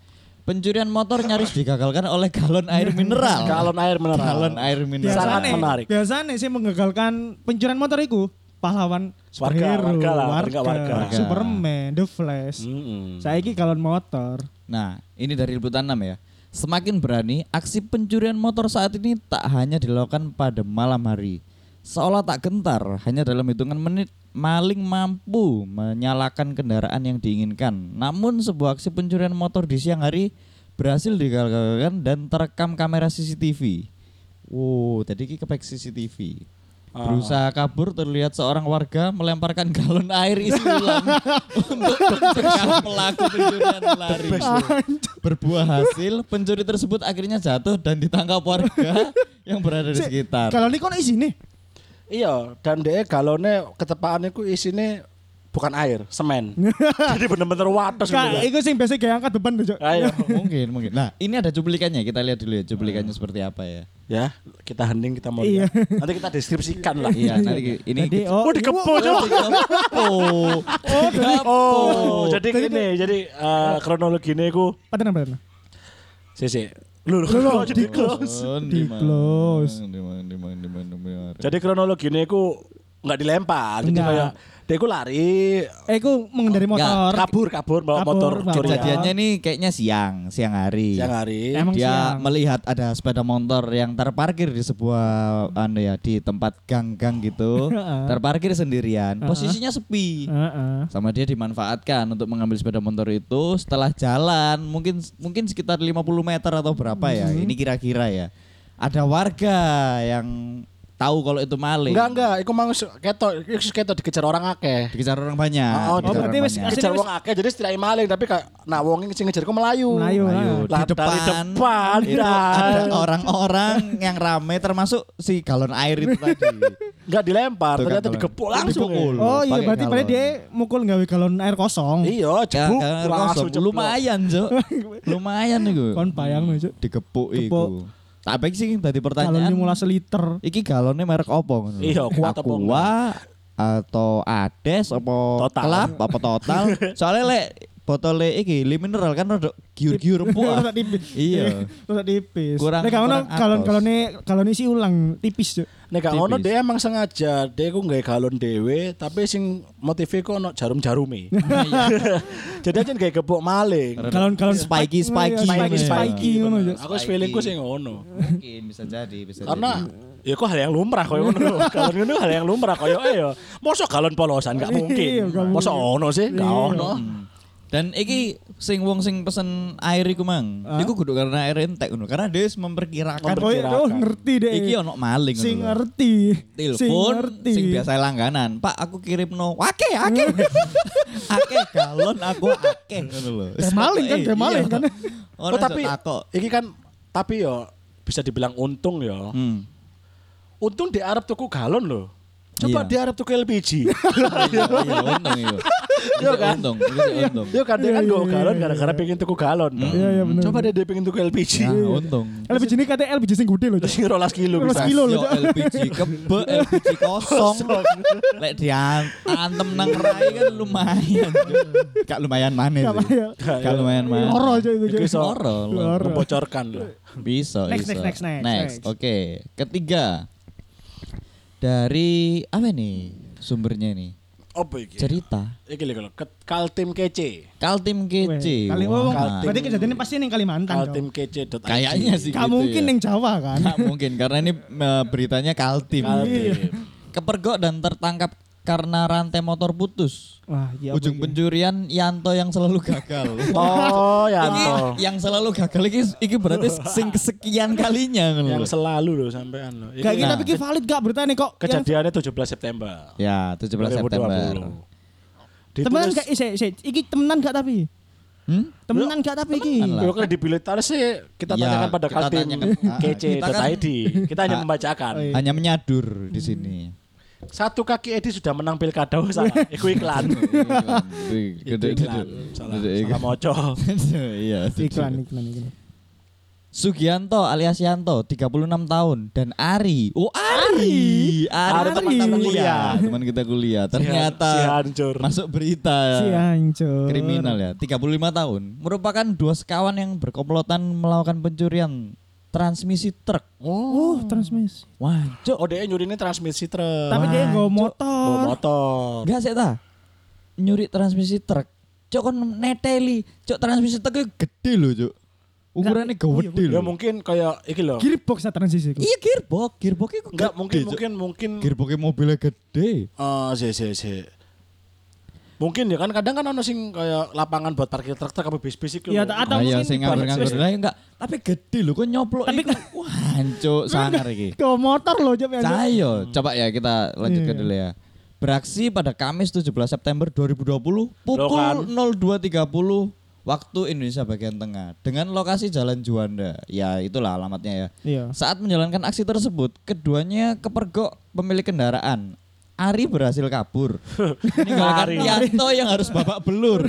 [SPEAKER 3] Pencurian motor nyaris digagalkan oleh galon air mineral.
[SPEAKER 1] Galon air mineral.
[SPEAKER 3] Galon air mineral.
[SPEAKER 1] Biasa. Sangat
[SPEAKER 2] Biasane,
[SPEAKER 1] menarik.
[SPEAKER 2] Biasane sih menggagalkan pencurian motor iku pahlawan superhero,
[SPEAKER 1] warga lah, warga,
[SPEAKER 2] warga,
[SPEAKER 1] warga. Hmm.
[SPEAKER 2] Superman, The Flash.
[SPEAKER 1] Mm-mm.
[SPEAKER 2] Saiki galon motor.
[SPEAKER 3] Nah, ini dari liputan 6 ya. Semakin berani, aksi pencurian motor saat ini tak hanya dilakukan pada malam hari. Seolah tak gentar, hanya dalam hitungan menit maling mampu menyalakan kendaraan yang diinginkan. Namun sebuah aksi pencurian motor di siang hari berhasil digagalkan dan terekam kamera CCTV. Wow, tadi ki kepek CCTV. Berusaha kabur terlihat seorang warga melemparkan galon air isi ulang untuk mencegah pelaku pencurian lari. Berbuah hasil, pencuri tersebut akhirnya jatuh dan ditangkap warga yang berada di sekitar.
[SPEAKER 2] Galon iki ono isine.
[SPEAKER 1] Iya, dan dhek galone ketepaan iku isine bukan air, semen. Jadi bener-bener wates gitu.
[SPEAKER 2] Kak,
[SPEAKER 1] Kak.
[SPEAKER 2] iku sing biasa gawe angkat beban lho, Cuk.
[SPEAKER 1] Ayo.
[SPEAKER 3] Mungkin, mungkin. Nah, ini ada cuplikannya. Kita lihat dulu ya cuplikannya seperti apa ya.
[SPEAKER 1] Ya, kita hening kita mau.
[SPEAKER 2] Iya.
[SPEAKER 1] lihat. Nanti kita deskripsikan lah.
[SPEAKER 3] Iya, nanti ki- ini
[SPEAKER 2] Jadi, oh,
[SPEAKER 1] Oh, dikepul coba.
[SPEAKER 3] Oh,
[SPEAKER 1] Oh, jadi gini, jadi eh, kronologinya iku
[SPEAKER 2] Paten apa?
[SPEAKER 1] Sisi. Lu
[SPEAKER 2] Loh, loh,
[SPEAKER 1] jadi
[SPEAKER 2] di-
[SPEAKER 1] close.
[SPEAKER 2] Close.
[SPEAKER 3] Oh,
[SPEAKER 2] Di close.
[SPEAKER 1] Jadi kronologinya aku nggak dilempar. Jadi
[SPEAKER 2] Enggak.
[SPEAKER 1] kayak dia aku lari
[SPEAKER 2] Eh, aku mengendari
[SPEAKER 3] Enggak,
[SPEAKER 2] motor.
[SPEAKER 1] kabur kabur bawa
[SPEAKER 2] Kabur,
[SPEAKER 1] motor curian.
[SPEAKER 2] bawa motor.
[SPEAKER 3] Kejadiannya ini kayaknya siang, Iya. siang hari.
[SPEAKER 1] Siang hari.
[SPEAKER 2] Emang ya.
[SPEAKER 3] dia
[SPEAKER 2] siang.
[SPEAKER 3] melihat ada sepeda motor yang terparkir di sebuah anu ya di tempat gang-gang gitu,
[SPEAKER 2] Heeh.
[SPEAKER 3] terparkir sendirian, posisinya sepi.
[SPEAKER 2] Heeh.
[SPEAKER 3] Sama dia dimanfaatkan untuk mengambil sepeda motor itu setelah jalan mungkin mungkin sekitar 50 meter atau berapa ya.
[SPEAKER 2] Hmm.
[SPEAKER 3] Ini kira-kira ya. Ada warga yang tahu kalau itu maling.
[SPEAKER 1] Enggak enggak, iku mau se- ketok, iku se- ketok dikejar orang akeh.
[SPEAKER 3] Dikejar orang banyak.
[SPEAKER 1] Oh,
[SPEAKER 3] dikejar
[SPEAKER 2] berarti
[SPEAKER 3] orang
[SPEAKER 2] wis-
[SPEAKER 3] banyak.
[SPEAKER 1] Dikejar wong akeh jadi setidaknya maling tapi kayak nah wong sing ngejar ku melayu. ah.
[SPEAKER 2] Melayu.
[SPEAKER 3] Ayo,
[SPEAKER 1] Lah,
[SPEAKER 3] di depan,
[SPEAKER 1] dari depan, Iya. ya.
[SPEAKER 3] itu
[SPEAKER 1] Bray.
[SPEAKER 3] ada orang-orang yang rame termasuk si galon air itu tadi.
[SPEAKER 1] Enggak dilempar,
[SPEAKER 3] Tuh kan,
[SPEAKER 1] ternyata
[SPEAKER 3] Bang.
[SPEAKER 1] digepuk langsung.
[SPEAKER 3] Dipukul.
[SPEAKER 1] eh.
[SPEAKER 2] Oh iya
[SPEAKER 3] Pakai
[SPEAKER 2] berarti pada
[SPEAKER 3] galon.
[SPEAKER 2] dia mukul gawe galon air kosong.
[SPEAKER 1] Iya,
[SPEAKER 3] Ya,
[SPEAKER 1] jebuk
[SPEAKER 3] galon air
[SPEAKER 1] langsung
[SPEAKER 3] kosong.
[SPEAKER 1] jeblok.
[SPEAKER 3] lumayan, Cuk. Lumayan iku.
[SPEAKER 2] Kon bayang no, Cuk.
[SPEAKER 3] digepuk
[SPEAKER 2] Gepuk.
[SPEAKER 3] iku. Tak baik sih
[SPEAKER 2] Galonnya
[SPEAKER 3] tadi pertanyaan.
[SPEAKER 2] mulai seliter.
[SPEAKER 3] Iki galonnya merek opo ngono?
[SPEAKER 1] Iya, kuat apa enggak?
[SPEAKER 3] Aqua atau Ades apa
[SPEAKER 1] Total.
[SPEAKER 3] kelap apa total. Soalnya lek botolnya iki li mineral kan rada giur-giur empuk. ah.
[SPEAKER 2] Rusak tipis.
[SPEAKER 3] Iya.
[SPEAKER 2] Rusak tipis.
[SPEAKER 3] Kurang-
[SPEAKER 2] Nek ono
[SPEAKER 3] kurang atos.
[SPEAKER 2] galon-galone galon isi ulang tipis, Cuk.
[SPEAKER 1] Nek gak ngono
[SPEAKER 3] Tipis.
[SPEAKER 1] dia emang sengaja dia ku nggawe galon dhewe tapi sing motive ku ono jarum-jarume. Jadi aja nggawe gepuk maling.
[SPEAKER 2] Galon-galon
[SPEAKER 3] Spiky,
[SPEAKER 2] spiky,
[SPEAKER 3] spiky.
[SPEAKER 1] Spiky,
[SPEAKER 2] Iya. spiky
[SPEAKER 1] spiky,
[SPEAKER 2] ngono,
[SPEAKER 1] bener.
[SPEAKER 2] Cuk.
[SPEAKER 1] Aku feeling ku sing ngono.
[SPEAKER 3] Mungkin bisa jadi, bisa
[SPEAKER 1] Karena ya kok hal yang lumrah koyo ngono. Galon ngono hal yang lumrah koyo eh ya. Mosok galon polosan gak
[SPEAKER 2] Iya,
[SPEAKER 1] mungkin.
[SPEAKER 2] gak
[SPEAKER 1] Mosok
[SPEAKER 2] mungkin.
[SPEAKER 1] ono sih, gak
[SPEAKER 2] Iya.
[SPEAKER 1] ono.
[SPEAKER 3] Hmm. Dan iki sing wong sing pesen air iku mang. Iku kudu karena air entek ngono. Karena dia memperkirakan
[SPEAKER 2] Oh, iya, oh, ngerti deh.
[SPEAKER 3] iki ono maling
[SPEAKER 2] sing
[SPEAKER 3] ngono.
[SPEAKER 2] ngerti. Sing
[SPEAKER 3] Telepon
[SPEAKER 2] ngerti.
[SPEAKER 3] sing biasa langganan. Pak, aku kirimno wake ake. ake galon aku ake ngono lho.
[SPEAKER 2] Kayak maling kan, kayak maling kan.
[SPEAKER 3] Oh,
[SPEAKER 1] Oh, tapi iki kan tapi yo bisa dibilang untung yo.
[SPEAKER 3] Hmm.
[SPEAKER 1] Untung di Arab tuku galon loh. Coba
[SPEAKER 3] Iya.
[SPEAKER 1] di Arab tuku LPG.
[SPEAKER 3] Iya, iya, untung itu. Iya kan? Untung, iya, untung.
[SPEAKER 1] Yo kan dia kan
[SPEAKER 2] Iya,
[SPEAKER 1] go
[SPEAKER 2] iya,
[SPEAKER 1] galon
[SPEAKER 2] iya,
[SPEAKER 1] gara-gara pengen tuku galon. toh.
[SPEAKER 2] Iya, iya, bener, Iya.
[SPEAKER 1] Coba dia dia pengen tuku LPG.
[SPEAKER 3] Nah, untung. Iya,
[SPEAKER 2] LPG ini katanya LPG sing gede loh, Cuk.
[SPEAKER 1] Sing rolas kilo
[SPEAKER 2] 12
[SPEAKER 1] bisa.
[SPEAKER 2] kilo loh,
[SPEAKER 3] Yo
[SPEAKER 2] Cuk.
[SPEAKER 3] LPG kebek, LPG kosong. Lek diantem nang rai kan lumayan. Kak Iya. lumayan Iya, mana
[SPEAKER 2] Gak
[SPEAKER 3] sih?
[SPEAKER 2] bayar.
[SPEAKER 3] Kak lumayan mana?
[SPEAKER 2] Loro, Cuk, iku, Cuk.
[SPEAKER 1] Iki iso
[SPEAKER 3] Loro, loro.
[SPEAKER 1] membocorkan loh.
[SPEAKER 3] Bisa,
[SPEAKER 2] Next,
[SPEAKER 3] bisa.
[SPEAKER 2] next, next, next, next.
[SPEAKER 3] Oke, ketiga dari apa nih sumbernya nih?
[SPEAKER 1] Apa iki?
[SPEAKER 3] Cerita
[SPEAKER 1] Iki lho kalau ke- Kaltim Kece.
[SPEAKER 3] Kaltim
[SPEAKER 2] Weh,
[SPEAKER 3] Kece.
[SPEAKER 2] Kali
[SPEAKER 3] Wah,
[SPEAKER 2] ngomong,
[SPEAKER 1] Kaltim.
[SPEAKER 2] berarti kejadiannya pasti ning Kalimantan. dong.
[SPEAKER 1] Kaltimkece.id.
[SPEAKER 3] Nah, Kayaknya sih.
[SPEAKER 2] Gak
[SPEAKER 3] gitu
[SPEAKER 2] mungkin
[SPEAKER 3] ya.
[SPEAKER 2] ning Jawa kan.
[SPEAKER 3] Nggak mungkin karena ini eh, beritanya Kaltim.
[SPEAKER 1] Kaltim.
[SPEAKER 3] Kepergok dan tertangkap karena rantai motor putus.
[SPEAKER 2] Wah, iya. apa
[SPEAKER 3] Ujung
[SPEAKER 2] iki?
[SPEAKER 3] pencurian Yanto yang selalu gagal.
[SPEAKER 1] Oh,
[SPEAKER 3] Ini
[SPEAKER 1] Yanto.
[SPEAKER 3] yang selalu gagal ini, ini berarti sing kesekian kalinya ngono
[SPEAKER 1] Yang
[SPEAKER 3] lho.
[SPEAKER 1] selalu loh sampean loh. Iki
[SPEAKER 2] Gak kita
[SPEAKER 3] Nah.
[SPEAKER 2] pikir valid gak beritanya kok. Yang-
[SPEAKER 1] Kejadiannya 17 September.
[SPEAKER 3] Ya, 17 September.
[SPEAKER 1] 2020. Ditulis-
[SPEAKER 2] Temenan gak isi, isi. Iki temenan gak tapi?
[SPEAKER 3] Hmm?
[SPEAKER 2] Temenan gak tapi iki?
[SPEAKER 3] Temenan lah.
[SPEAKER 1] Iya, Kalau kena di biletar sih kita
[SPEAKER 3] Ya,
[SPEAKER 1] tanyakan pada
[SPEAKER 3] kita
[SPEAKER 1] Kaltim
[SPEAKER 3] tanyakan.
[SPEAKER 2] Ah,
[SPEAKER 1] Kece.id.
[SPEAKER 3] Kita kan-
[SPEAKER 1] Kita hanya membacakan.
[SPEAKER 2] Oh, iya.
[SPEAKER 3] Hanya menyadur di sini.
[SPEAKER 1] Satu kaki Edi sudah menang pilkada oh, salah. Iku iklan.
[SPEAKER 3] Iya.
[SPEAKER 1] Itu
[SPEAKER 3] Gede
[SPEAKER 1] iklan. Salah. Salah moco.
[SPEAKER 3] Iya.
[SPEAKER 2] Iklan, iklan, iklan.
[SPEAKER 3] Sugianto alias Yanto 36 tahun dan Ari. Oh Ari. Ari,
[SPEAKER 1] Ari,
[SPEAKER 3] teman kita
[SPEAKER 1] Ari.
[SPEAKER 3] kuliah. Teman kita kuliah. Ternyata
[SPEAKER 1] Si hancur.
[SPEAKER 3] masuk berita ya.
[SPEAKER 2] Si hancur.
[SPEAKER 3] Eh, kriminal ya. 35 tahun. Merupakan dua sekawan yang berkomplotan melakukan pencurian transmisi truk.
[SPEAKER 2] Oh, transmisi.
[SPEAKER 3] Wah, cok.
[SPEAKER 1] Oh, dia nyuri ini transmisi truk.
[SPEAKER 2] Tapi dia nggak
[SPEAKER 1] Bawa
[SPEAKER 2] motor.
[SPEAKER 1] motor.
[SPEAKER 3] Enggak sih ta. Nyuri transmisi truk. Cok kon neteli. Cok transmisi truk itu gede loh, cok. Ukurannya gede
[SPEAKER 1] Ya
[SPEAKER 3] loh.
[SPEAKER 1] mungkin kayak iki loh.
[SPEAKER 2] Gearbox ya transisi itu.
[SPEAKER 3] Iya gearbox, gearbox itu
[SPEAKER 1] Enggak mungkin
[SPEAKER 3] gede, Cuk.
[SPEAKER 1] mungkin mungkin
[SPEAKER 3] gearboxnya mobilnya gede.
[SPEAKER 1] eh si si si. Mungkin ya kan kadang kan ono sing kayak lapangan buat parkir truk truk apa bis-bis iki. lho.
[SPEAKER 2] Ya, tak- Atau
[SPEAKER 3] Atau
[SPEAKER 2] mungkin
[SPEAKER 3] sing nganggur-nganggur
[SPEAKER 2] dibalik.
[SPEAKER 3] lah enggak, tapi gede lho kok nyoplok
[SPEAKER 2] Tapi
[SPEAKER 3] iku. Wah, hancur sangar iki.
[SPEAKER 2] Ke motor loh Jep. ya, Jep.
[SPEAKER 3] Cayo, coba ya kita lanjutkan
[SPEAKER 2] Iya.
[SPEAKER 3] dulu ya. Beraksi pada Kamis 17 September
[SPEAKER 1] Loh
[SPEAKER 3] 2020 pukul
[SPEAKER 1] kan.
[SPEAKER 3] 02.30 waktu Indonesia bagian tengah dengan lokasi Jalan Juanda. Ya, itulah alamatnya ya.
[SPEAKER 2] Iya.
[SPEAKER 3] Saat menjalankan aksi tersebut, keduanya kepergok pemilik kendaraan. Ari berhasil kabur. Meninggalkan
[SPEAKER 1] Ari.
[SPEAKER 3] Yanto yang harus babak belur.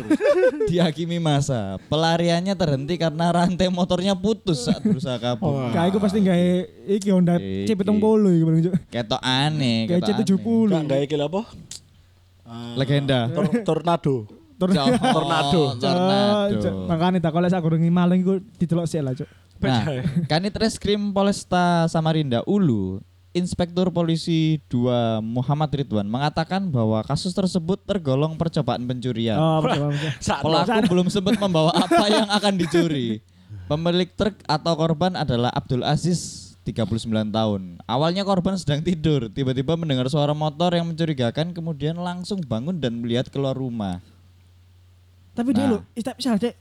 [SPEAKER 3] Dihakimi masa. Pelariannya terhenti karena rantai motornya putus saat berusaha kabur.
[SPEAKER 2] Kayak gue pasti nggak iki Honda
[SPEAKER 3] Iki.
[SPEAKER 2] C70 iki bareng Jep.
[SPEAKER 3] Ketok aneh,
[SPEAKER 2] Kayak
[SPEAKER 3] ketok aneh.
[SPEAKER 2] C70.
[SPEAKER 1] enggak enggak iki lho apa? Eh,
[SPEAKER 3] Legenda.
[SPEAKER 1] tor- tornado.
[SPEAKER 2] Tornado. Oh,
[SPEAKER 1] Tornado.
[SPEAKER 3] Tornado.
[SPEAKER 2] Cuk, Makanya tak kalau saya kurang maling gue ditelok sih lah cuk.
[SPEAKER 3] Nah, Kanit Reskrim Polresta Samarinda Ulu, Inspektur Polisi 2 Muhammad Ridwan mengatakan bahwa kasus tersebut tergolong percobaan pencurian.
[SPEAKER 2] Oh, betul, betul.
[SPEAKER 1] Saat
[SPEAKER 3] Pelaku belum sempat membawa apa yang akan dicuri. Pemilik truk atau korban adalah Abdul Aziz 39 tahun. Awalnya korban sedang tidur, tiba-tiba mendengar suara motor yang mencurigakan kemudian langsung bangun dan melihat keluar rumah.
[SPEAKER 2] Tapi dia
[SPEAKER 3] Nah.
[SPEAKER 2] lo, tapi misal dek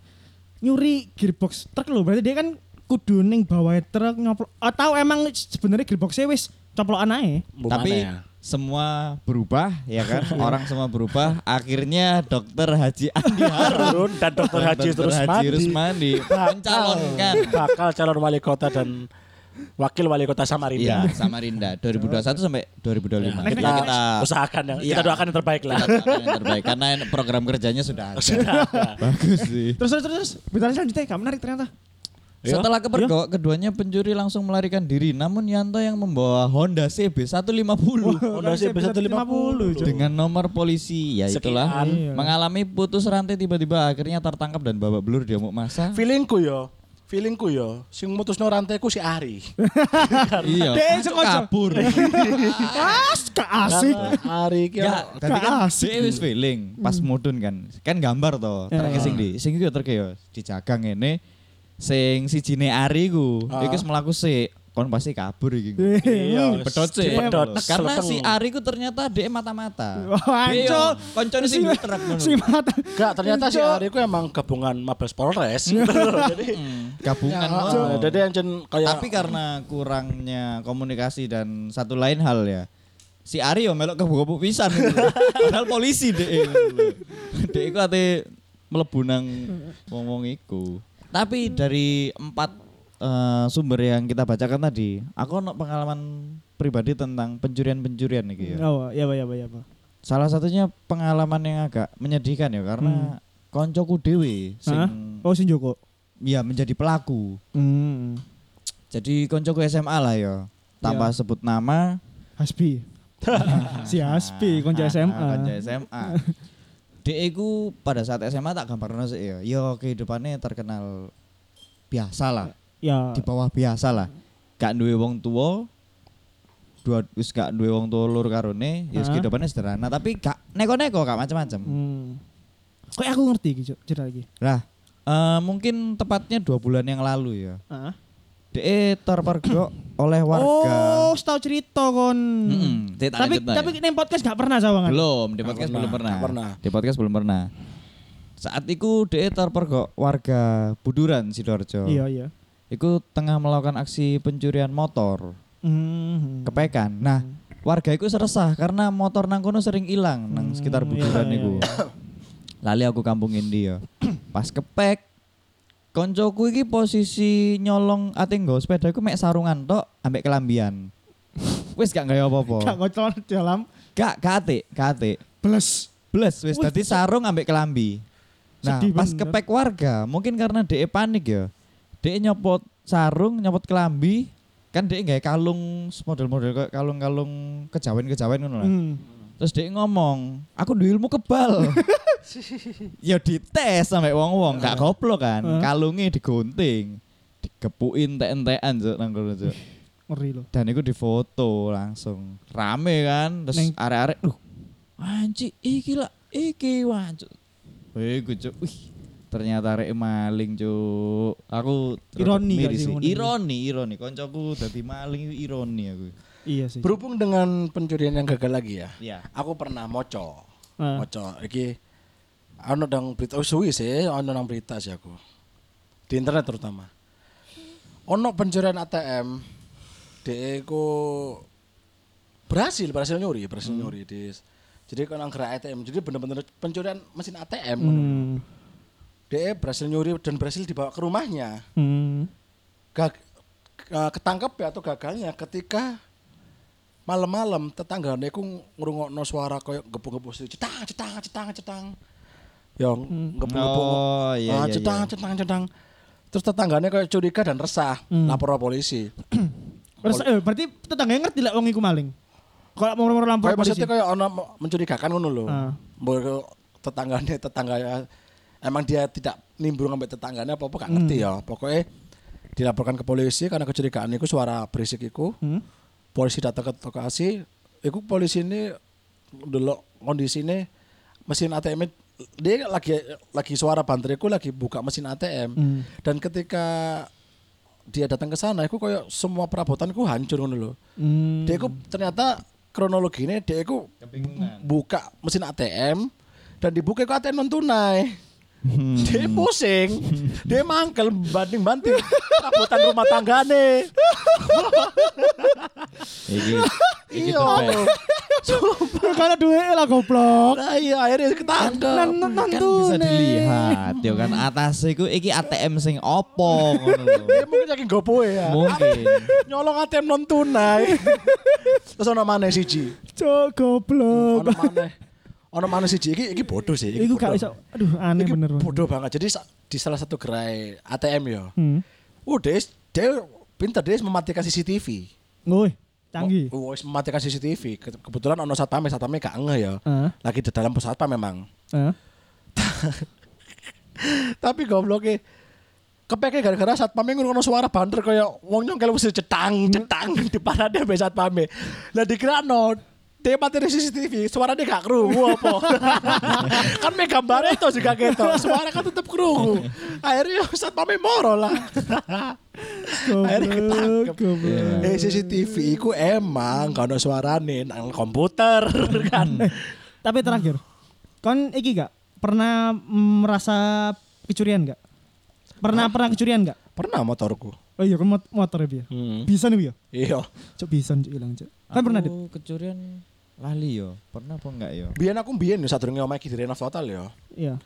[SPEAKER 2] nyuri gearbox truk lo, berarti dia kan kudu ning bawah truk nyoplok atau emang sebenarnya gearboxnya wis coplok anake.
[SPEAKER 3] Tapi
[SPEAKER 1] tapi
[SPEAKER 3] semua ya? berubah ya kan? Orang semua berubah. Akhirnya Dokter Haji Andi Harun
[SPEAKER 1] Iya, Harun dan Dokter Haji terus mandi
[SPEAKER 3] Rusmandi mencalonkan
[SPEAKER 1] bakal calon wali kota dan wakil wali kota Samarinda.
[SPEAKER 3] Iya, Samarinda 2021 sampai 2025.
[SPEAKER 1] Kita,
[SPEAKER 3] Iya. Kita kita
[SPEAKER 1] usahakan yang
[SPEAKER 3] Iya.
[SPEAKER 1] kita doakan yang terbaik lah.
[SPEAKER 3] kita doakan yang terbaik karena program kerjanya sudah ada. Bagus sih.
[SPEAKER 2] Terus terus terus, terus. Bentar selanjutnya gak menarik ternyata.
[SPEAKER 1] Iya.
[SPEAKER 3] Setelah kepergok, keduanya pencuri langsung melarikan diri. Namun Yanto yang membawa Honda CB 150
[SPEAKER 1] Honda CB 150.
[SPEAKER 2] Cuk.
[SPEAKER 3] dengan nomor polisi, ya itulah,
[SPEAKER 2] Sekian.
[SPEAKER 3] mengalami putus rantai tiba-tiba akhirnya tertangkap dan babak belur diamuk masa.
[SPEAKER 1] Feelingku yo, feelingku yo, sing mutusno rantaiku si Ari.
[SPEAKER 3] iya,
[SPEAKER 2] Dek,
[SPEAKER 3] masuk
[SPEAKER 2] sengaja.
[SPEAKER 3] kabur. Ah.
[SPEAKER 2] As gak asik.
[SPEAKER 1] Kan, eh, Ari iki
[SPEAKER 3] Enggak, tadi
[SPEAKER 2] Gak
[SPEAKER 3] kan
[SPEAKER 2] Ya, asik. Hmm. Ya.
[SPEAKER 3] dia wis feeling pas mudun kan. Kan gambar to, terke sing di sing iki terke yo dijagang ngene sing sijine ari ku.
[SPEAKER 1] Ah.
[SPEAKER 3] Iki wis mlaku sik, kon pasti kabur iki. ku.
[SPEAKER 1] Iya,
[SPEAKER 3] Pedot sih.
[SPEAKER 1] Pedot.
[SPEAKER 3] Karena
[SPEAKER 1] Seleteng.
[SPEAKER 3] si Ari ku ternyata dia mata-mata.
[SPEAKER 2] Wah,
[SPEAKER 3] Dia yo
[SPEAKER 2] Cok.
[SPEAKER 3] Koncone sing truk ngono.
[SPEAKER 2] Si mata.
[SPEAKER 1] Enggak, ternyata si
[SPEAKER 2] Cuk.
[SPEAKER 1] Ari ku emang gabungan Mabes Polres. Jadi Ah,
[SPEAKER 3] Gabungan. ngono.
[SPEAKER 1] Jadi yang jen kayak
[SPEAKER 3] Hmm, kan Tapi kan- karena kurangnya komunikasi dan satu lain hal ya. Si Ari yo melok kebuka pisan. gitu. Padahal polisi deh. Dek iku ate mlebu nang wong-wong iku. Tapi dari empat eh, sumber yang kita bacakan tadi, aku ono pengalaman pribadi tentang pencurian-pencurian iki ya.
[SPEAKER 2] Oh, ya apa ya apa ya apa.
[SPEAKER 3] Salah satunya pengalaman yang agak menyedihkan ya karena koncoku dhewe sing
[SPEAKER 2] Hah? Oh, si Joko.
[SPEAKER 3] ya menjadi pelaku.
[SPEAKER 2] Hmm.
[SPEAKER 3] Jadi koncoku SMA lah ya. Tanpa
[SPEAKER 2] Iya.
[SPEAKER 3] sebut nama, Nah,
[SPEAKER 2] Hasbi. si Hasbi konco SMA.
[SPEAKER 3] Ah, Konco SMA. Dek iku pada saat SMA tak gambarno sih ya. Ya kehidupannya terkenal biasa lah,
[SPEAKER 2] Ya.
[SPEAKER 3] di bawah biasa lah. Gak duwe wong tua, dua wis gak duwe wong tua lur karone, ya
[SPEAKER 2] Ah.
[SPEAKER 3] kehidupannya sederhana tapi gak neko-neko gak macam-macam.
[SPEAKER 2] Hmm. Kok aku ngerti iki, Cuk, cerita iki.
[SPEAKER 3] Nah, eh, mungkin tepatnya dua bulan yang lalu ya.
[SPEAKER 2] Heeh.
[SPEAKER 3] Dek terpergok oleh warga.
[SPEAKER 2] Oh, tahu cerita kon.
[SPEAKER 3] Mm-mm, dia tak
[SPEAKER 2] tapi
[SPEAKER 3] lanjut, Nay.
[SPEAKER 2] tapi neng podcast gak pernah kan? sawangan.
[SPEAKER 3] Belum, di podcast
[SPEAKER 1] pernah,
[SPEAKER 3] belum pernah.
[SPEAKER 1] nggak pernah.
[SPEAKER 3] Di podcast belum pernah. Saat itu DE terpergok warga Buduran Sidoarjo.
[SPEAKER 2] Iya, iya.
[SPEAKER 3] Iku tengah melakukan aksi pencurian motor
[SPEAKER 2] Hmm.
[SPEAKER 3] kepekan. Nah, warga iku seresah karena motor nang kono sering hilang nang
[SPEAKER 2] Hmm,
[SPEAKER 3] sekitar
[SPEAKER 2] iya,
[SPEAKER 3] Buduran
[SPEAKER 2] iya,
[SPEAKER 3] iku. Lali aku kampung Indi ya. Pas kepek Koncoku iki posisi nyolong ate nggo sepeda iku mek sarungan tok ambek kelambian. Wis gak gawe
[SPEAKER 2] Gak
[SPEAKER 3] apa-apa.
[SPEAKER 2] ngocol dalam
[SPEAKER 3] Gak gak atik, gak atik.
[SPEAKER 2] beles.
[SPEAKER 3] Bles wis
[SPEAKER 2] Wih,
[SPEAKER 3] tadi sarung ambek kelambi. Nah,
[SPEAKER 2] Sedih
[SPEAKER 3] pas
[SPEAKER 2] bener.
[SPEAKER 3] kepek warga, mungkin karena DE panik ya. DE nyopot sarung, nyopot kelambi, kan DE nggak kalung model-model kayak kalung-kalung kejawen-kejawen ngono lah.
[SPEAKER 2] Hmm.
[SPEAKER 3] Terus DE ngomong, "Aku duwe ilmu kebal." ya dites sampai wong-wong, gak goblok kan.
[SPEAKER 2] Heeh.
[SPEAKER 3] Kalungnya digunting, digepukin tek-entekan Cuk, nang kono, Cuk.
[SPEAKER 2] Ngeri loh.
[SPEAKER 3] Dan itu difoto langsung. Rame kan, terus
[SPEAKER 2] Neng-
[SPEAKER 3] arek-arek, "Duh, anci iki lah, iki wancuk." Wih, gue cuk. Wih, ternyata arek maling, cuk. Aku terus
[SPEAKER 2] Ironi gak
[SPEAKER 3] miris
[SPEAKER 2] sih ngono iki?
[SPEAKER 3] Ironi, ironi. Koncoku dadi maling itu ironi aku.
[SPEAKER 2] Iya sih.
[SPEAKER 1] berhubung dengan pencurian yang gagal lagi ya.
[SPEAKER 3] Iya.
[SPEAKER 1] Aku pernah moco.
[SPEAKER 2] Ah.
[SPEAKER 1] Moco iki ana nang berita oh, suwi sih, ana nang berita sih aku. Di internet terutama. Ono pencurian ATM. Dhek iku berhasil berhasil nyuri, berhasil
[SPEAKER 2] Hmm.
[SPEAKER 1] nyuri di jadi kan nang gerak ATM. Jadi bener-bener pencurian mesin ATM.
[SPEAKER 2] Hmm.
[SPEAKER 1] Dhek berhasil nyuri dan berhasil dibawa ke rumahnya.
[SPEAKER 2] Hmm.
[SPEAKER 1] gag, eh, ketangkep ya atau gagalnya ketika malam-malam tetangga aku ngrungokno suara koyo gebu-gebu sih cetang cetang cetang cetang yang gebu-gebu
[SPEAKER 3] Hmm. Oh, iya,
[SPEAKER 1] ah,
[SPEAKER 3] iya,
[SPEAKER 1] cetang cetang cetang terus tetangganya kayak curiga dan resah
[SPEAKER 3] Hmm.
[SPEAKER 1] lapor ke polisi
[SPEAKER 2] Terus eh, berarti tetangga ngerti lah wong iku maling. Kalau mau nomor lampu
[SPEAKER 1] kayak
[SPEAKER 2] polisi.
[SPEAKER 1] maksudnya kayak ono mencurigakan ngono lho
[SPEAKER 2] Ah.
[SPEAKER 1] Mbok- tetangganya tetangganya ya. emang dia tidak nimbrung sampai tetangganya apa apa gak ngerti
[SPEAKER 2] Hmm.
[SPEAKER 1] ya pokoknya dilaporkan ke polisi karena kecurigaan itu suara berisik itu
[SPEAKER 2] Hmm.
[SPEAKER 1] polisi datang ke lokasi itu polisi ini delok kondisi ini mesin ATM -nya- dia lagi lagi suara banteriku lagi buka mesin ATM
[SPEAKER 2] Hmm.
[SPEAKER 1] dan ketika dia datang ke sana itu koyo semua perabotanku hancur ngono lho
[SPEAKER 2] Hmm.
[SPEAKER 1] dia itu ternyata kronologinya dia itu buka mesin ATM dan dibuka ke ATM non tunai. Dia pusing, dia mangkel banting-banting rapotan rumah tanggane.
[SPEAKER 3] Iki iki
[SPEAKER 1] Iya.
[SPEAKER 3] tebak.
[SPEAKER 2] Ya, Kalau duwe lah goblok.
[SPEAKER 1] Nah, iya akhirnya
[SPEAKER 2] Nan
[SPEAKER 1] ketangkep.
[SPEAKER 2] nan nan
[SPEAKER 3] kan
[SPEAKER 2] tuh,
[SPEAKER 3] bisa
[SPEAKER 2] Nek.
[SPEAKER 3] dilihat ya kan atas iku iki ATM sing opo ngono lho.
[SPEAKER 1] Dia mungkin saking gopoe ya.
[SPEAKER 3] Mungkin.
[SPEAKER 1] Nyolong ATM non tunai. Terus ono maneh siji.
[SPEAKER 2] Cok goblok.
[SPEAKER 1] Ono maneh. Ono maneh siji iki iki bodoh sih.
[SPEAKER 2] Iku gak
[SPEAKER 1] bodoh.
[SPEAKER 2] iso. Aduh aneh
[SPEAKER 1] Iki
[SPEAKER 2] bener. Bang.
[SPEAKER 1] bodoh banget. Jadi sa- di salah satu gerai ATM ya.
[SPEAKER 2] Hmm.
[SPEAKER 1] Oh, dia dia pinter dia mematikan CCTV.
[SPEAKER 2] Woi, canggih.
[SPEAKER 1] Oh, wis mematikan CCTV. Ke- Kebetulan ono satpam, satpame gak ngeh ya.
[SPEAKER 2] Heeh.
[SPEAKER 1] Lagi di dalam pusat satpam memang.
[SPEAKER 2] Heeh.
[SPEAKER 1] Tapi gobloknya kepeke gara-gara satpame ngono suara banter kaya wong nyongkel mesti cetang cetang di parade sampe satpame. Lah dikirano dia materi CCTV, suaranya gak kerungu apa. kan mega gambarnya itu juga gitu, suara kan tetep kerungu. Akhirnya satpame moro lah. Akhirnya ketangkep.
[SPEAKER 2] Goblok. Goblok.
[SPEAKER 1] Eh CCTV iku emang gak ada suarane nang komputer kan.
[SPEAKER 2] Tapi terakhir, kon iki gak pernah mm, merasa kecurian gak? Pernah pernah kecurian gak?
[SPEAKER 1] Pernah motorku.
[SPEAKER 2] Oh iya, kon mot motor ya.
[SPEAKER 1] Hmm.
[SPEAKER 2] Bisa nih ya.
[SPEAKER 1] Iya.
[SPEAKER 2] Cok bisa cok hilang cok. Kan pernah dit.
[SPEAKER 3] Aku kecurian lali yo. Pernah apa enggak yo?
[SPEAKER 1] Biyen aku biyen ya sadurunge omahe iki direnov total ya.
[SPEAKER 2] Iya.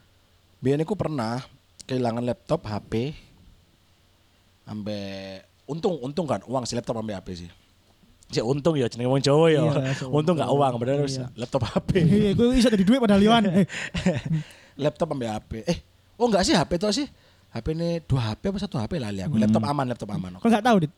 [SPEAKER 1] Biyen aku pernah kehilangan laptop, HP ambe untung untung kan uang si laptop ambe HP sih. Si untung ya jenenge wong Jawa ya.
[SPEAKER 2] Iya, so
[SPEAKER 1] untung gak uang bener wis laptop HP.
[SPEAKER 2] Iya, gue bisa dari duit padahal Yohan. Eh,
[SPEAKER 1] laptop ambe HP. Eh, oh enggak sih HP tok sih. HP ini dua HP apa satu HP lali aku. Laptop aman, laptop aman.
[SPEAKER 2] Kau gak tahu dit.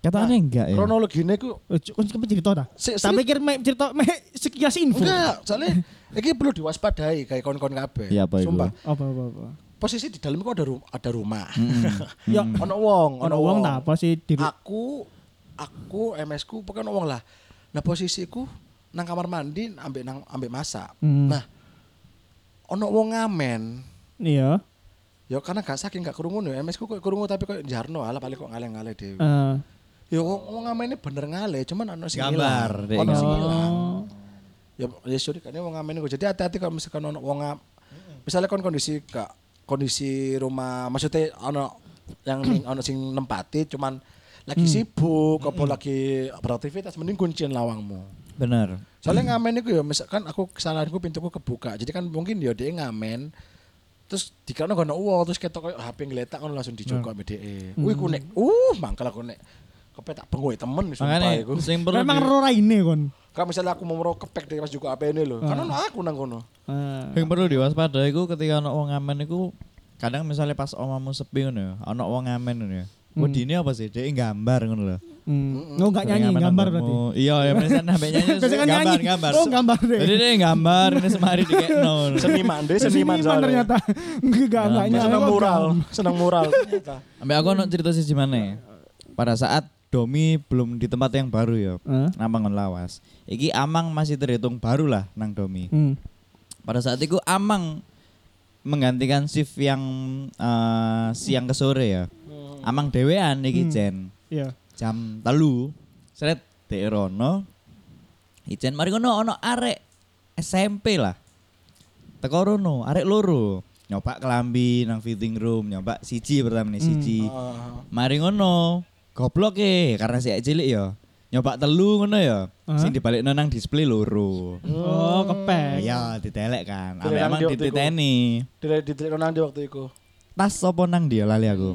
[SPEAKER 3] Katanya enggak ya.
[SPEAKER 1] Kronologinya aku
[SPEAKER 2] Eh, Cok, kon kan cerita dah.
[SPEAKER 1] Si-
[SPEAKER 2] Tak
[SPEAKER 1] si-
[SPEAKER 2] pikir me- cerita me sekilas info.
[SPEAKER 1] enggak, soalnya ini perlu diwaspadai kayak kon-kon kabeh.
[SPEAKER 3] Iya, apa itu?
[SPEAKER 1] Sumpah.
[SPEAKER 2] Apa apa apa.
[SPEAKER 1] Posisi di dalam itu ada ru- ada rumah.
[SPEAKER 2] Ya,
[SPEAKER 1] ono Ah. wong,
[SPEAKER 2] ono wong tak apa sih di
[SPEAKER 1] aku aku MS ku pokoknya ngomong lah nah posisiku nang kamar mandi ambek nang ambek masak
[SPEAKER 2] Hmm.
[SPEAKER 1] nah ono wong ngamen
[SPEAKER 2] Iya.
[SPEAKER 1] ya karena gak saking gak kerungu ya MS ku kok kerungu tapi kok jarno ala paling kok ngaleng ngaleng deh
[SPEAKER 2] Eh,
[SPEAKER 1] ya wong, wong ngamen ini bener ngaleng cuman ono sing
[SPEAKER 3] Gambar,
[SPEAKER 1] ilang.
[SPEAKER 3] dek,
[SPEAKER 1] ono sing
[SPEAKER 3] gambar.
[SPEAKER 1] ilang ya ya sorry kan wong ngamen iku. jadi hati-hati kalau misalkan ono wong ngam- misalnya kon kondisi gak kondisi rumah maksudnya ono yang ning- ono sing nempati cuman lagi sibuk apa lagi beraktivitas mending kuncin lawangmu
[SPEAKER 3] Bener.
[SPEAKER 1] soalnya ngamen itu ya misalkan aku kesalahanku pintuku kebuka jadi kan mungkin ya dia ngamen terus dikira nggak uang terus ketok kayak HP ngeletak kan langsung dicoba sama dia wih ku nek uh mangkel aku nek kepet tak pengoi temen sumpah
[SPEAKER 3] Makanya
[SPEAKER 1] iku.
[SPEAKER 3] sing perlu
[SPEAKER 2] memang
[SPEAKER 3] di-
[SPEAKER 2] rora ini kon.
[SPEAKER 1] Kalau misalnya aku mau merokok kepek dari pas juga HP ini loh, karena ono aku nang kono.
[SPEAKER 2] Eh,
[SPEAKER 3] Yang perlu diwaspadai iku ketika ana wong ngamen iku kadang misalnya pas omamu sepi ngono ya, ana wong ngamen ngono ya. Wedine apa sih? Dhek gambar ngono lho.
[SPEAKER 2] Hmm. Oh enggak nyanyi,
[SPEAKER 3] Sering ngamen
[SPEAKER 2] gambar
[SPEAKER 3] nang
[SPEAKER 2] berarti.
[SPEAKER 3] kamu. Iya, ya biasanya sampe nyanyi
[SPEAKER 2] Biasanya kan
[SPEAKER 3] gambar,
[SPEAKER 2] nyanyi.
[SPEAKER 3] gambar.
[SPEAKER 2] Oh, gambar deh.
[SPEAKER 3] Jadi dia gambar ini semari dikekno.
[SPEAKER 1] Seniman deh, seniman,
[SPEAKER 2] Seniman
[SPEAKER 1] soalnya.
[SPEAKER 2] ternyata. Enggak enggak enggak
[SPEAKER 1] Dia Senang
[SPEAKER 2] kok
[SPEAKER 1] mural, senang mural ternyata.
[SPEAKER 3] Ambil aku ono cerita sih gimana ya. Pada saat Domi belum di tempat yang baru ya,
[SPEAKER 2] Heeh.
[SPEAKER 3] Amang lawas. Iki Amang masih terhitung baru lah nang Domi.
[SPEAKER 2] Hmm.
[SPEAKER 3] Pada saat itu Amang menggantikan shift yang eh, siang ke sore ya. Amang dewean iki Jen.
[SPEAKER 2] Iya.
[SPEAKER 3] Jam telu seret di Rono. Ijen mari ngono ono arek SMP lah. Teko rono, arek loro. Nyoba kelambi nang fitting room, nyoba siji pertama nih siji.
[SPEAKER 1] Ah.
[SPEAKER 3] Mari ngono. Goblok e, karena si Ejek cilik ya. Nyoba telu ngono ya.
[SPEAKER 2] Hah?
[SPEAKER 3] Sing dibalekno nang display loro.
[SPEAKER 2] Oh, kepek.
[SPEAKER 3] Ya ditelek kan.
[SPEAKER 1] Hmm. Ditelek nang
[SPEAKER 3] Ambek emang
[SPEAKER 1] dia waktu iku.
[SPEAKER 3] dititeni.
[SPEAKER 1] Di di telik nang di waktu itu.
[SPEAKER 3] Tas sopo nang dia lali aku.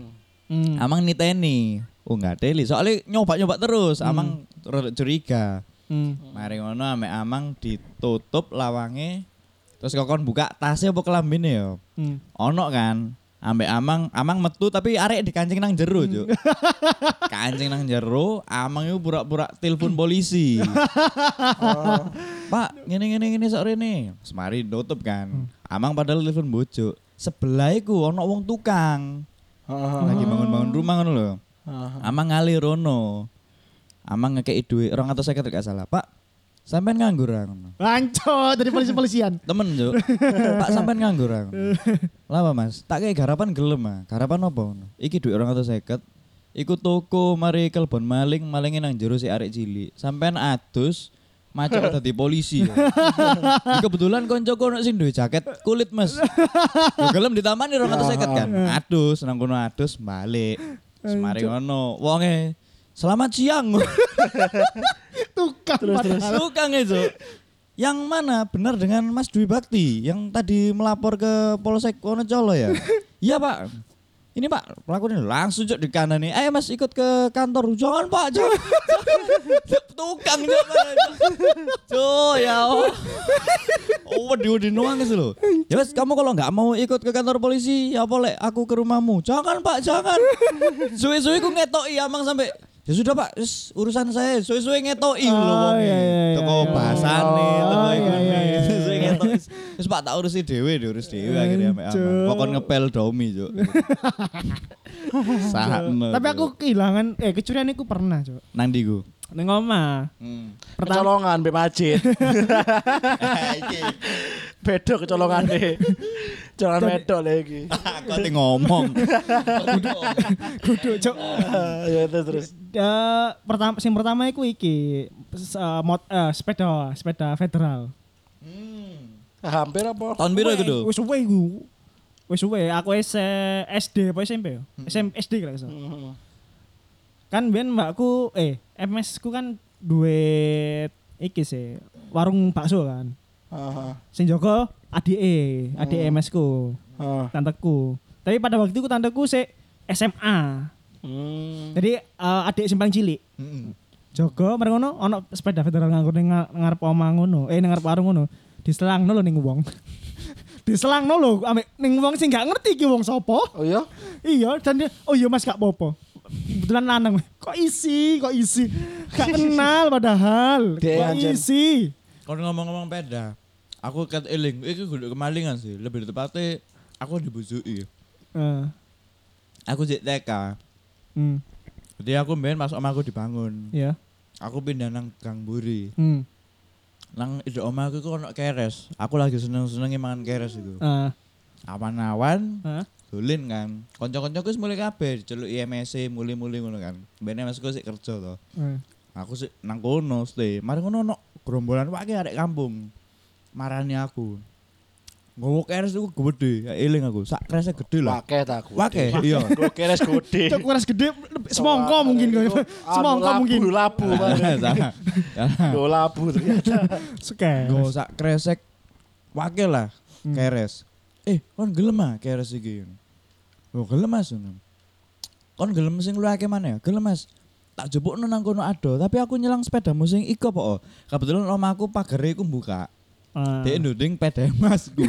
[SPEAKER 2] Hmm.
[SPEAKER 3] Amang niteni. Oh enggak deli, soalnya nyoba-nyoba terus,
[SPEAKER 1] Hmm.
[SPEAKER 3] amang rodok curiga.
[SPEAKER 2] Hmm.
[SPEAKER 3] Mari ngono ambek amang ditutup lawange. Terus kokon buka tasnya apa kelambine ya.
[SPEAKER 2] Hmm.
[SPEAKER 3] ono kan ambek amang amang metu tapi arek dikancing nang jero cuk kancing nang jero amang itu pura-pura telepon polisi pak ngene ngene ngene sore ini semari nutup kan
[SPEAKER 4] Amang padahal telepon bojo. Sebelah iku ono wong tukang.
[SPEAKER 1] Ah,
[SPEAKER 4] Lagi bangun-bangun rumah ngono lho. Amang ngalir rono. Amang ngekei duit 250 gak salah. Pak, sampean nganggur ra?" ngono.
[SPEAKER 2] Lanco dari polisi-polisian.
[SPEAKER 4] Temen Cuk. Pak sampean nganggur aku. Lapa Mas? Tak kayak garapan gelem ah. Garapan apa? ngono? Iki duit 250. Iku toko mari kelbon maling, malingin nang jero si arek cilik. Sampean adus macam dadi polisi. Ya. Kebetulan koncoku ono sing duwe jaket kulit, Mas. Ya gelem ditamani 250 kan. Adus nang kono adus balik. Semari ngono. Wonge Selamat siang.
[SPEAKER 2] Tukang terus,
[SPEAKER 4] Tukang itu. Yang mana benar dengan Mas Dwi Bakti yang tadi melapor ke Polsek Wonocolo ya? Iya Pak. Ini Pak pelakunya langsung cok di kanan nih. Ayo Mas ikut ke kantor. Jangan Pak, jangan. Tukang jangan. Cok ya Allah. Oh, wedi wedi doang itu loh. Ya Mas, kamu kalau nggak mau ikut ke kantor polisi, ya boleh aku ke rumahmu. Jangan Pak, jangan. Suwe-suwe ku ngetoki amang sampai Ya sudah Pak, wis urusan saya suwe-suwe ngetoki
[SPEAKER 2] Oh,
[SPEAKER 4] loh wonge.
[SPEAKER 2] iya, iya, iya,
[SPEAKER 4] Teko
[SPEAKER 2] iya.
[SPEAKER 4] basane, teko
[SPEAKER 2] Oh, iya,
[SPEAKER 4] ikune.
[SPEAKER 2] iya, iya,
[SPEAKER 4] Suwe
[SPEAKER 2] iya.
[SPEAKER 4] ngetoki. Terus Pak tak urusi dhewe, diurus dhewe akhirnya mek amang.
[SPEAKER 2] Cuk.
[SPEAKER 4] Pokon ngepel domi, Cuk. Sahakno.
[SPEAKER 2] Tapi aku
[SPEAKER 4] Cuk.
[SPEAKER 2] kehilangan eh kecurian aku pernah, Cuk.
[SPEAKER 4] nang ndi ku?
[SPEAKER 2] Ning omah.
[SPEAKER 4] Hmm.
[SPEAKER 2] Pertama
[SPEAKER 1] Kecolongan be masjid. Bedo kecolongan deh. Jangan bedo lagi.
[SPEAKER 4] Aku ati ngomong.
[SPEAKER 2] kudu, Cuk.
[SPEAKER 1] ya Ah, terus terus.
[SPEAKER 2] Eh, pertama sing pertama iku iki s- eh, mot, eh, sepeda, sepeda federal.
[SPEAKER 1] Hampir apa?
[SPEAKER 4] Tahun biru iku, Dul?
[SPEAKER 2] Wis suwe iku. Wis suwe, aku S SD apa SMP ya? SMP SD kira iso.
[SPEAKER 1] Oh.
[SPEAKER 2] Kan ben mbakku eh MS ku kan duwe iki sih, warung bakso kan.
[SPEAKER 1] Heeh.
[SPEAKER 2] Sing jaga adike, adik MS ku,
[SPEAKER 1] Heeh.
[SPEAKER 2] tanteku. Tapi pada waktu itu tanteku sik SMA.
[SPEAKER 1] Hmm.
[SPEAKER 2] Jadi eh, adik sing paling cilik.
[SPEAKER 4] Heeh.
[SPEAKER 2] Jogo mari ngono ana sepeda federal nganggur ning nga- ngarep omah ngono, eh ning ngarep warung ngono. Diselangno lho ning wong. Diselangno lho ambek ning wong sing gak ngerti iki wong sapa.
[SPEAKER 1] Oh iya?
[SPEAKER 2] Iya, dan dia, oh iya Mas gak apa-apa. Kebetulan lanang. Kok isi, kok isi. Gak kenal padahal.
[SPEAKER 1] Dia
[SPEAKER 2] Kok
[SPEAKER 1] anjen.
[SPEAKER 2] isi.
[SPEAKER 3] Kalau ngomong-ngomong peda, aku ket eling, iki guduk kemalingan sih. Lebih tepatnya aku dibujui.
[SPEAKER 2] Eh,
[SPEAKER 3] Aku jek TK.
[SPEAKER 2] hmm,
[SPEAKER 3] Jadi aku main masuk omaku dibangun.
[SPEAKER 2] ya.
[SPEAKER 3] Aku pindah nang Gang Buri.
[SPEAKER 2] Hmm.
[SPEAKER 3] Nang ide omaku iku ono keres. Aku lagi seneng-senenge mangan keres itu.
[SPEAKER 2] Eh,
[SPEAKER 3] Awan-awan
[SPEAKER 2] eh,
[SPEAKER 3] dolin kan. Kanca-kancaku wis mulai kabeh celuk IMSC, mulai-mulai ngono kan. Ben MSku sik kerja to.
[SPEAKER 2] eh.
[SPEAKER 3] Aku sik nang kono stay. Mari ngono ono gerombolan wake arek kampung. Marani aku. Nggowo keres iku gede, ya eling aku. Sak keresnya
[SPEAKER 2] Iya
[SPEAKER 3] gede lah.
[SPEAKER 1] Pakai tak aku.
[SPEAKER 3] Wake, iya.
[SPEAKER 1] Gue keres gede.
[SPEAKER 2] Cok kuras gede, semongko mungkin.
[SPEAKER 1] iya.
[SPEAKER 2] Semongko mungkin. Iya,
[SPEAKER 1] Labu, labu.
[SPEAKER 3] Salah. Salah.
[SPEAKER 1] Yo labu ternyata.
[SPEAKER 2] Suka.
[SPEAKER 3] Nggo sak kresek wakil lah
[SPEAKER 2] Hmm.
[SPEAKER 3] keres. Eh, kon gelem ah keres iki. Oh, gelem Mas. ngono. Kon gelem sing lu akeh mana ya? Gelem Mas. Tak jebukno nang kono ado, tapi aku nyelang sepedamu sing iko po. Kebetulan omaku pagere iku buka.
[SPEAKER 2] Eh,
[SPEAKER 3] Dek nduding pede Masku.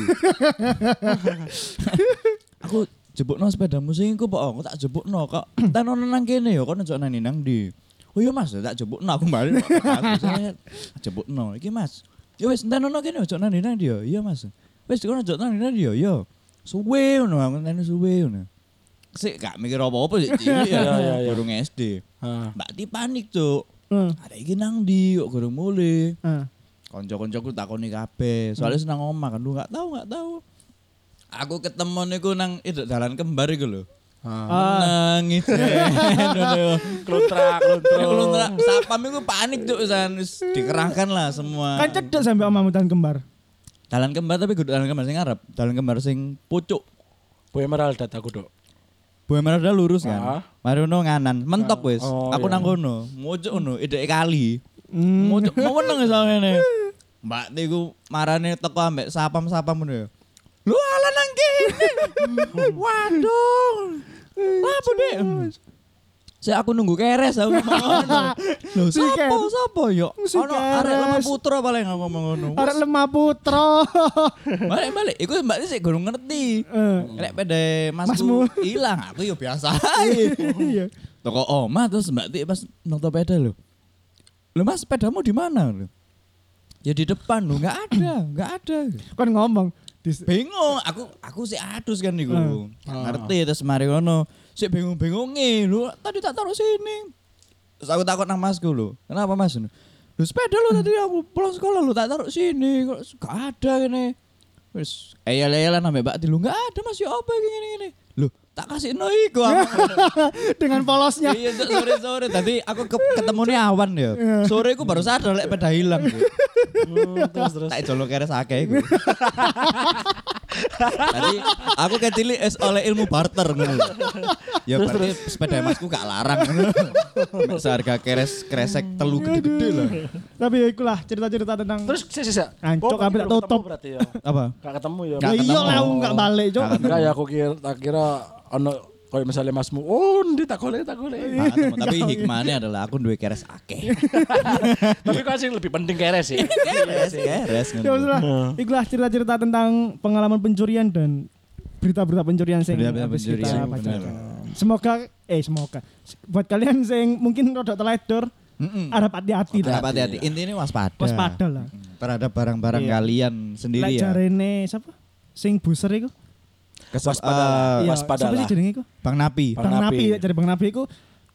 [SPEAKER 3] aku jebukno sepedamu sing iku po. Aku tak jebukno kok. Tanono nang kene ya, kon njok nani nang ndi. Oh iya Mas, tak jebukno aku bali. Aku saya jebukno. Iki Mas. Ya wis tanono kene njok nani nang ndi ya. Iya Mas. Wis kon njok nani nang ndi ya. Iya. Suwe ngono aku nani suwe ngono. Sik gak mikir apa-apa sik cilik
[SPEAKER 1] Iya, iya,
[SPEAKER 3] ya.
[SPEAKER 1] iya.
[SPEAKER 3] Burung SD.
[SPEAKER 1] Heeh.
[SPEAKER 3] Mbak Ti panik, Cuk.
[SPEAKER 2] eh,
[SPEAKER 3] Ada iki nang ndi kok gurung mulih
[SPEAKER 2] eh.
[SPEAKER 3] konco-koncoku takoni kabeh. Soalnya
[SPEAKER 1] Hmm.
[SPEAKER 3] senang omah kan lu nggak tahu nggak tahu. Aku ketemu niku nang itu dalan kembar iku lho.
[SPEAKER 2] Ah.
[SPEAKER 3] Nangis.
[SPEAKER 1] Klontrak,
[SPEAKER 3] Kalau
[SPEAKER 1] klontrak.
[SPEAKER 3] nggak sapam iku panik tuh san Wis dikerahkan lah semua.
[SPEAKER 2] Kan cedek sampai omamu tan kembar.
[SPEAKER 3] Dalan kembar tapi kudu dalan kembar sing Arab, dalan kembar sing pucuk.
[SPEAKER 1] Bu Emerald dat aku, Dok.
[SPEAKER 3] Buah merah udah
[SPEAKER 1] Ah.
[SPEAKER 3] lurus kan. Marono nganan, mentok wis.
[SPEAKER 1] Oh,
[SPEAKER 3] Aku
[SPEAKER 1] iya.
[SPEAKER 3] nang kono, mojok ngono, ide kali.
[SPEAKER 2] Hmm.
[SPEAKER 3] Mojok mau meneng samene. Mbak niku marane teko ambek sapam-sapam ngono ya. Lu ala nang kene. Waduh. Lapo dek. Saya aku nunggu keres aku ngomong ngono. Lho
[SPEAKER 2] Si
[SPEAKER 3] sapa
[SPEAKER 2] keres.
[SPEAKER 3] sapa yo?
[SPEAKER 2] Si
[SPEAKER 3] Ono arek lemah
[SPEAKER 2] keres.
[SPEAKER 3] putra paling aku ngomong ngono.
[SPEAKER 2] Arek lemah putra.
[SPEAKER 3] Balik-balik, iku mbak sik gurung ngerti.
[SPEAKER 2] Eh,
[SPEAKER 3] Lek pede
[SPEAKER 2] Masmu.
[SPEAKER 3] masku hilang, aku yo biasa ae.
[SPEAKER 2] Iya.
[SPEAKER 3] toko oma terus mbak Ti pas nonton sepeda lo lo mas sepedamu di mana lo ya di depan lo nggak ada nggak ada
[SPEAKER 2] Kan ngomong Dis-
[SPEAKER 3] bingung aku aku sih adus kan niku
[SPEAKER 2] Hmm.
[SPEAKER 3] ngerti terus mari ngono sik bingung-bingunge lho tadi tak taruh sini terus aku takut nang masku lho kenapa mas lu sepeda lu tadi aku pulang sekolah lu tak taruh sini kok gak ada gini terus eyel eyelan sampe mbak tilu gak ada mas ya apa gini gini gini lu tak kasih no iku aku
[SPEAKER 2] dengan polosnya.
[SPEAKER 3] iya Cok, sore sore tadi aku ke, ketemunya awan ya
[SPEAKER 2] Iya.
[SPEAKER 3] sore aku baru sadar lek peda hilang Cok.
[SPEAKER 1] terus terus.
[SPEAKER 3] tak jolo kere sake iku. Tadi aku kecilik es oleh ilmu barter ngono. lho. Ya
[SPEAKER 1] Terus,
[SPEAKER 3] berarti sepeda emasku gak larang ngono. Mek Seharga keres kresek telu gede-gede iya, lah.
[SPEAKER 2] Tapi ya ikulah cerita-cerita tentang
[SPEAKER 1] Terus sih sih.
[SPEAKER 2] Ancok, kabeh tak tutup.
[SPEAKER 1] Berarti ya.
[SPEAKER 3] Apa?
[SPEAKER 1] Gak ketemu ya.
[SPEAKER 3] Gak
[SPEAKER 2] Ya iya
[SPEAKER 3] ketemu.
[SPEAKER 2] lah aku gak balik, Cok.
[SPEAKER 3] Gak
[SPEAKER 1] Enggak ya aku kira tak kira ono koyo misalnya Masmu, oh ndi tak golek tak golek.
[SPEAKER 2] Iya.
[SPEAKER 3] Nah, ketemu. tapi hikmahnya adalah aku duwe keres akeh.
[SPEAKER 1] Tapi kok sih lebih penting keres sih.
[SPEAKER 3] Keres, keres
[SPEAKER 2] Ya wis
[SPEAKER 3] ngono.
[SPEAKER 2] lah. Ikulah cerita-cerita tentang pengalaman pencurian dan berita-berita pencurian sing
[SPEAKER 3] Berita-berita
[SPEAKER 2] habis
[SPEAKER 3] pencurian,
[SPEAKER 2] kita
[SPEAKER 3] bener.
[SPEAKER 2] bacakan. Semoga eh semoga buat kalian sing mungkin rodok teledor
[SPEAKER 3] Mm-mm. Ya.
[SPEAKER 2] harap hati-hati
[SPEAKER 3] Tidak
[SPEAKER 2] lah.
[SPEAKER 3] hati-hati. Intinya waspada. Hmm,
[SPEAKER 2] Waspada lah.
[SPEAKER 3] Terhadap barang-barang
[SPEAKER 2] Iya.
[SPEAKER 3] kalian sendiri
[SPEAKER 2] Lek
[SPEAKER 3] ya.
[SPEAKER 2] jarene siapa? Sing buser iku.
[SPEAKER 3] Kes-
[SPEAKER 1] Waspadalah.
[SPEAKER 3] eh,
[SPEAKER 2] Iya,
[SPEAKER 1] waspada
[SPEAKER 2] Siapa sih
[SPEAKER 1] lah.
[SPEAKER 2] jenenge iku?
[SPEAKER 3] Iya. Bang Napi.
[SPEAKER 1] Bang
[SPEAKER 2] Bang
[SPEAKER 1] Napi.
[SPEAKER 2] Napi, jadi Bang Napi iku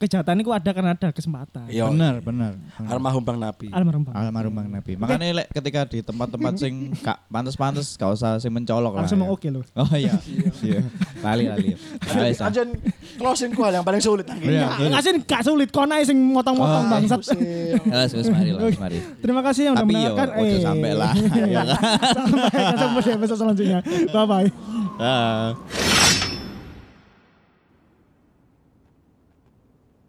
[SPEAKER 2] kejahatan iku ada karena ada kesempatan.
[SPEAKER 1] Iya.
[SPEAKER 3] Bener, bener. Bang
[SPEAKER 2] Hmm.
[SPEAKER 3] Napi.
[SPEAKER 1] Almarhum Bang Napi.
[SPEAKER 2] Almarhum Bang.
[SPEAKER 3] Almarhum Bang Nabi. Makanya lek ketika di tempat-tempat sing gak pantes-pantes gak usah sing mencolok lah.
[SPEAKER 2] Langsung
[SPEAKER 3] ya.
[SPEAKER 2] mau oke lho.
[SPEAKER 3] Oh iya. Iya. Lali lali. ah. Lali, Sa.
[SPEAKER 1] Ajen closing ku yang paling sulit
[SPEAKER 3] Iya.
[SPEAKER 1] akhirnya.
[SPEAKER 2] Ya, kasih gak sulit kono ae sing motong-motong
[SPEAKER 3] Oh,
[SPEAKER 2] bangsat.
[SPEAKER 1] Pusing.
[SPEAKER 3] Ya, wis wis mari lah, wis mari.
[SPEAKER 2] Terima kasih yang udah
[SPEAKER 3] Tapi yo
[SPEAKER 2] mendengarkan. Eh.
[SPEAKER 3] ojo sampai lah. ya kan?
[SPEAKER 2] Iya. sampai sampai di episode selanjutnya. Bye bye.
[SPEAKER 3] Ah.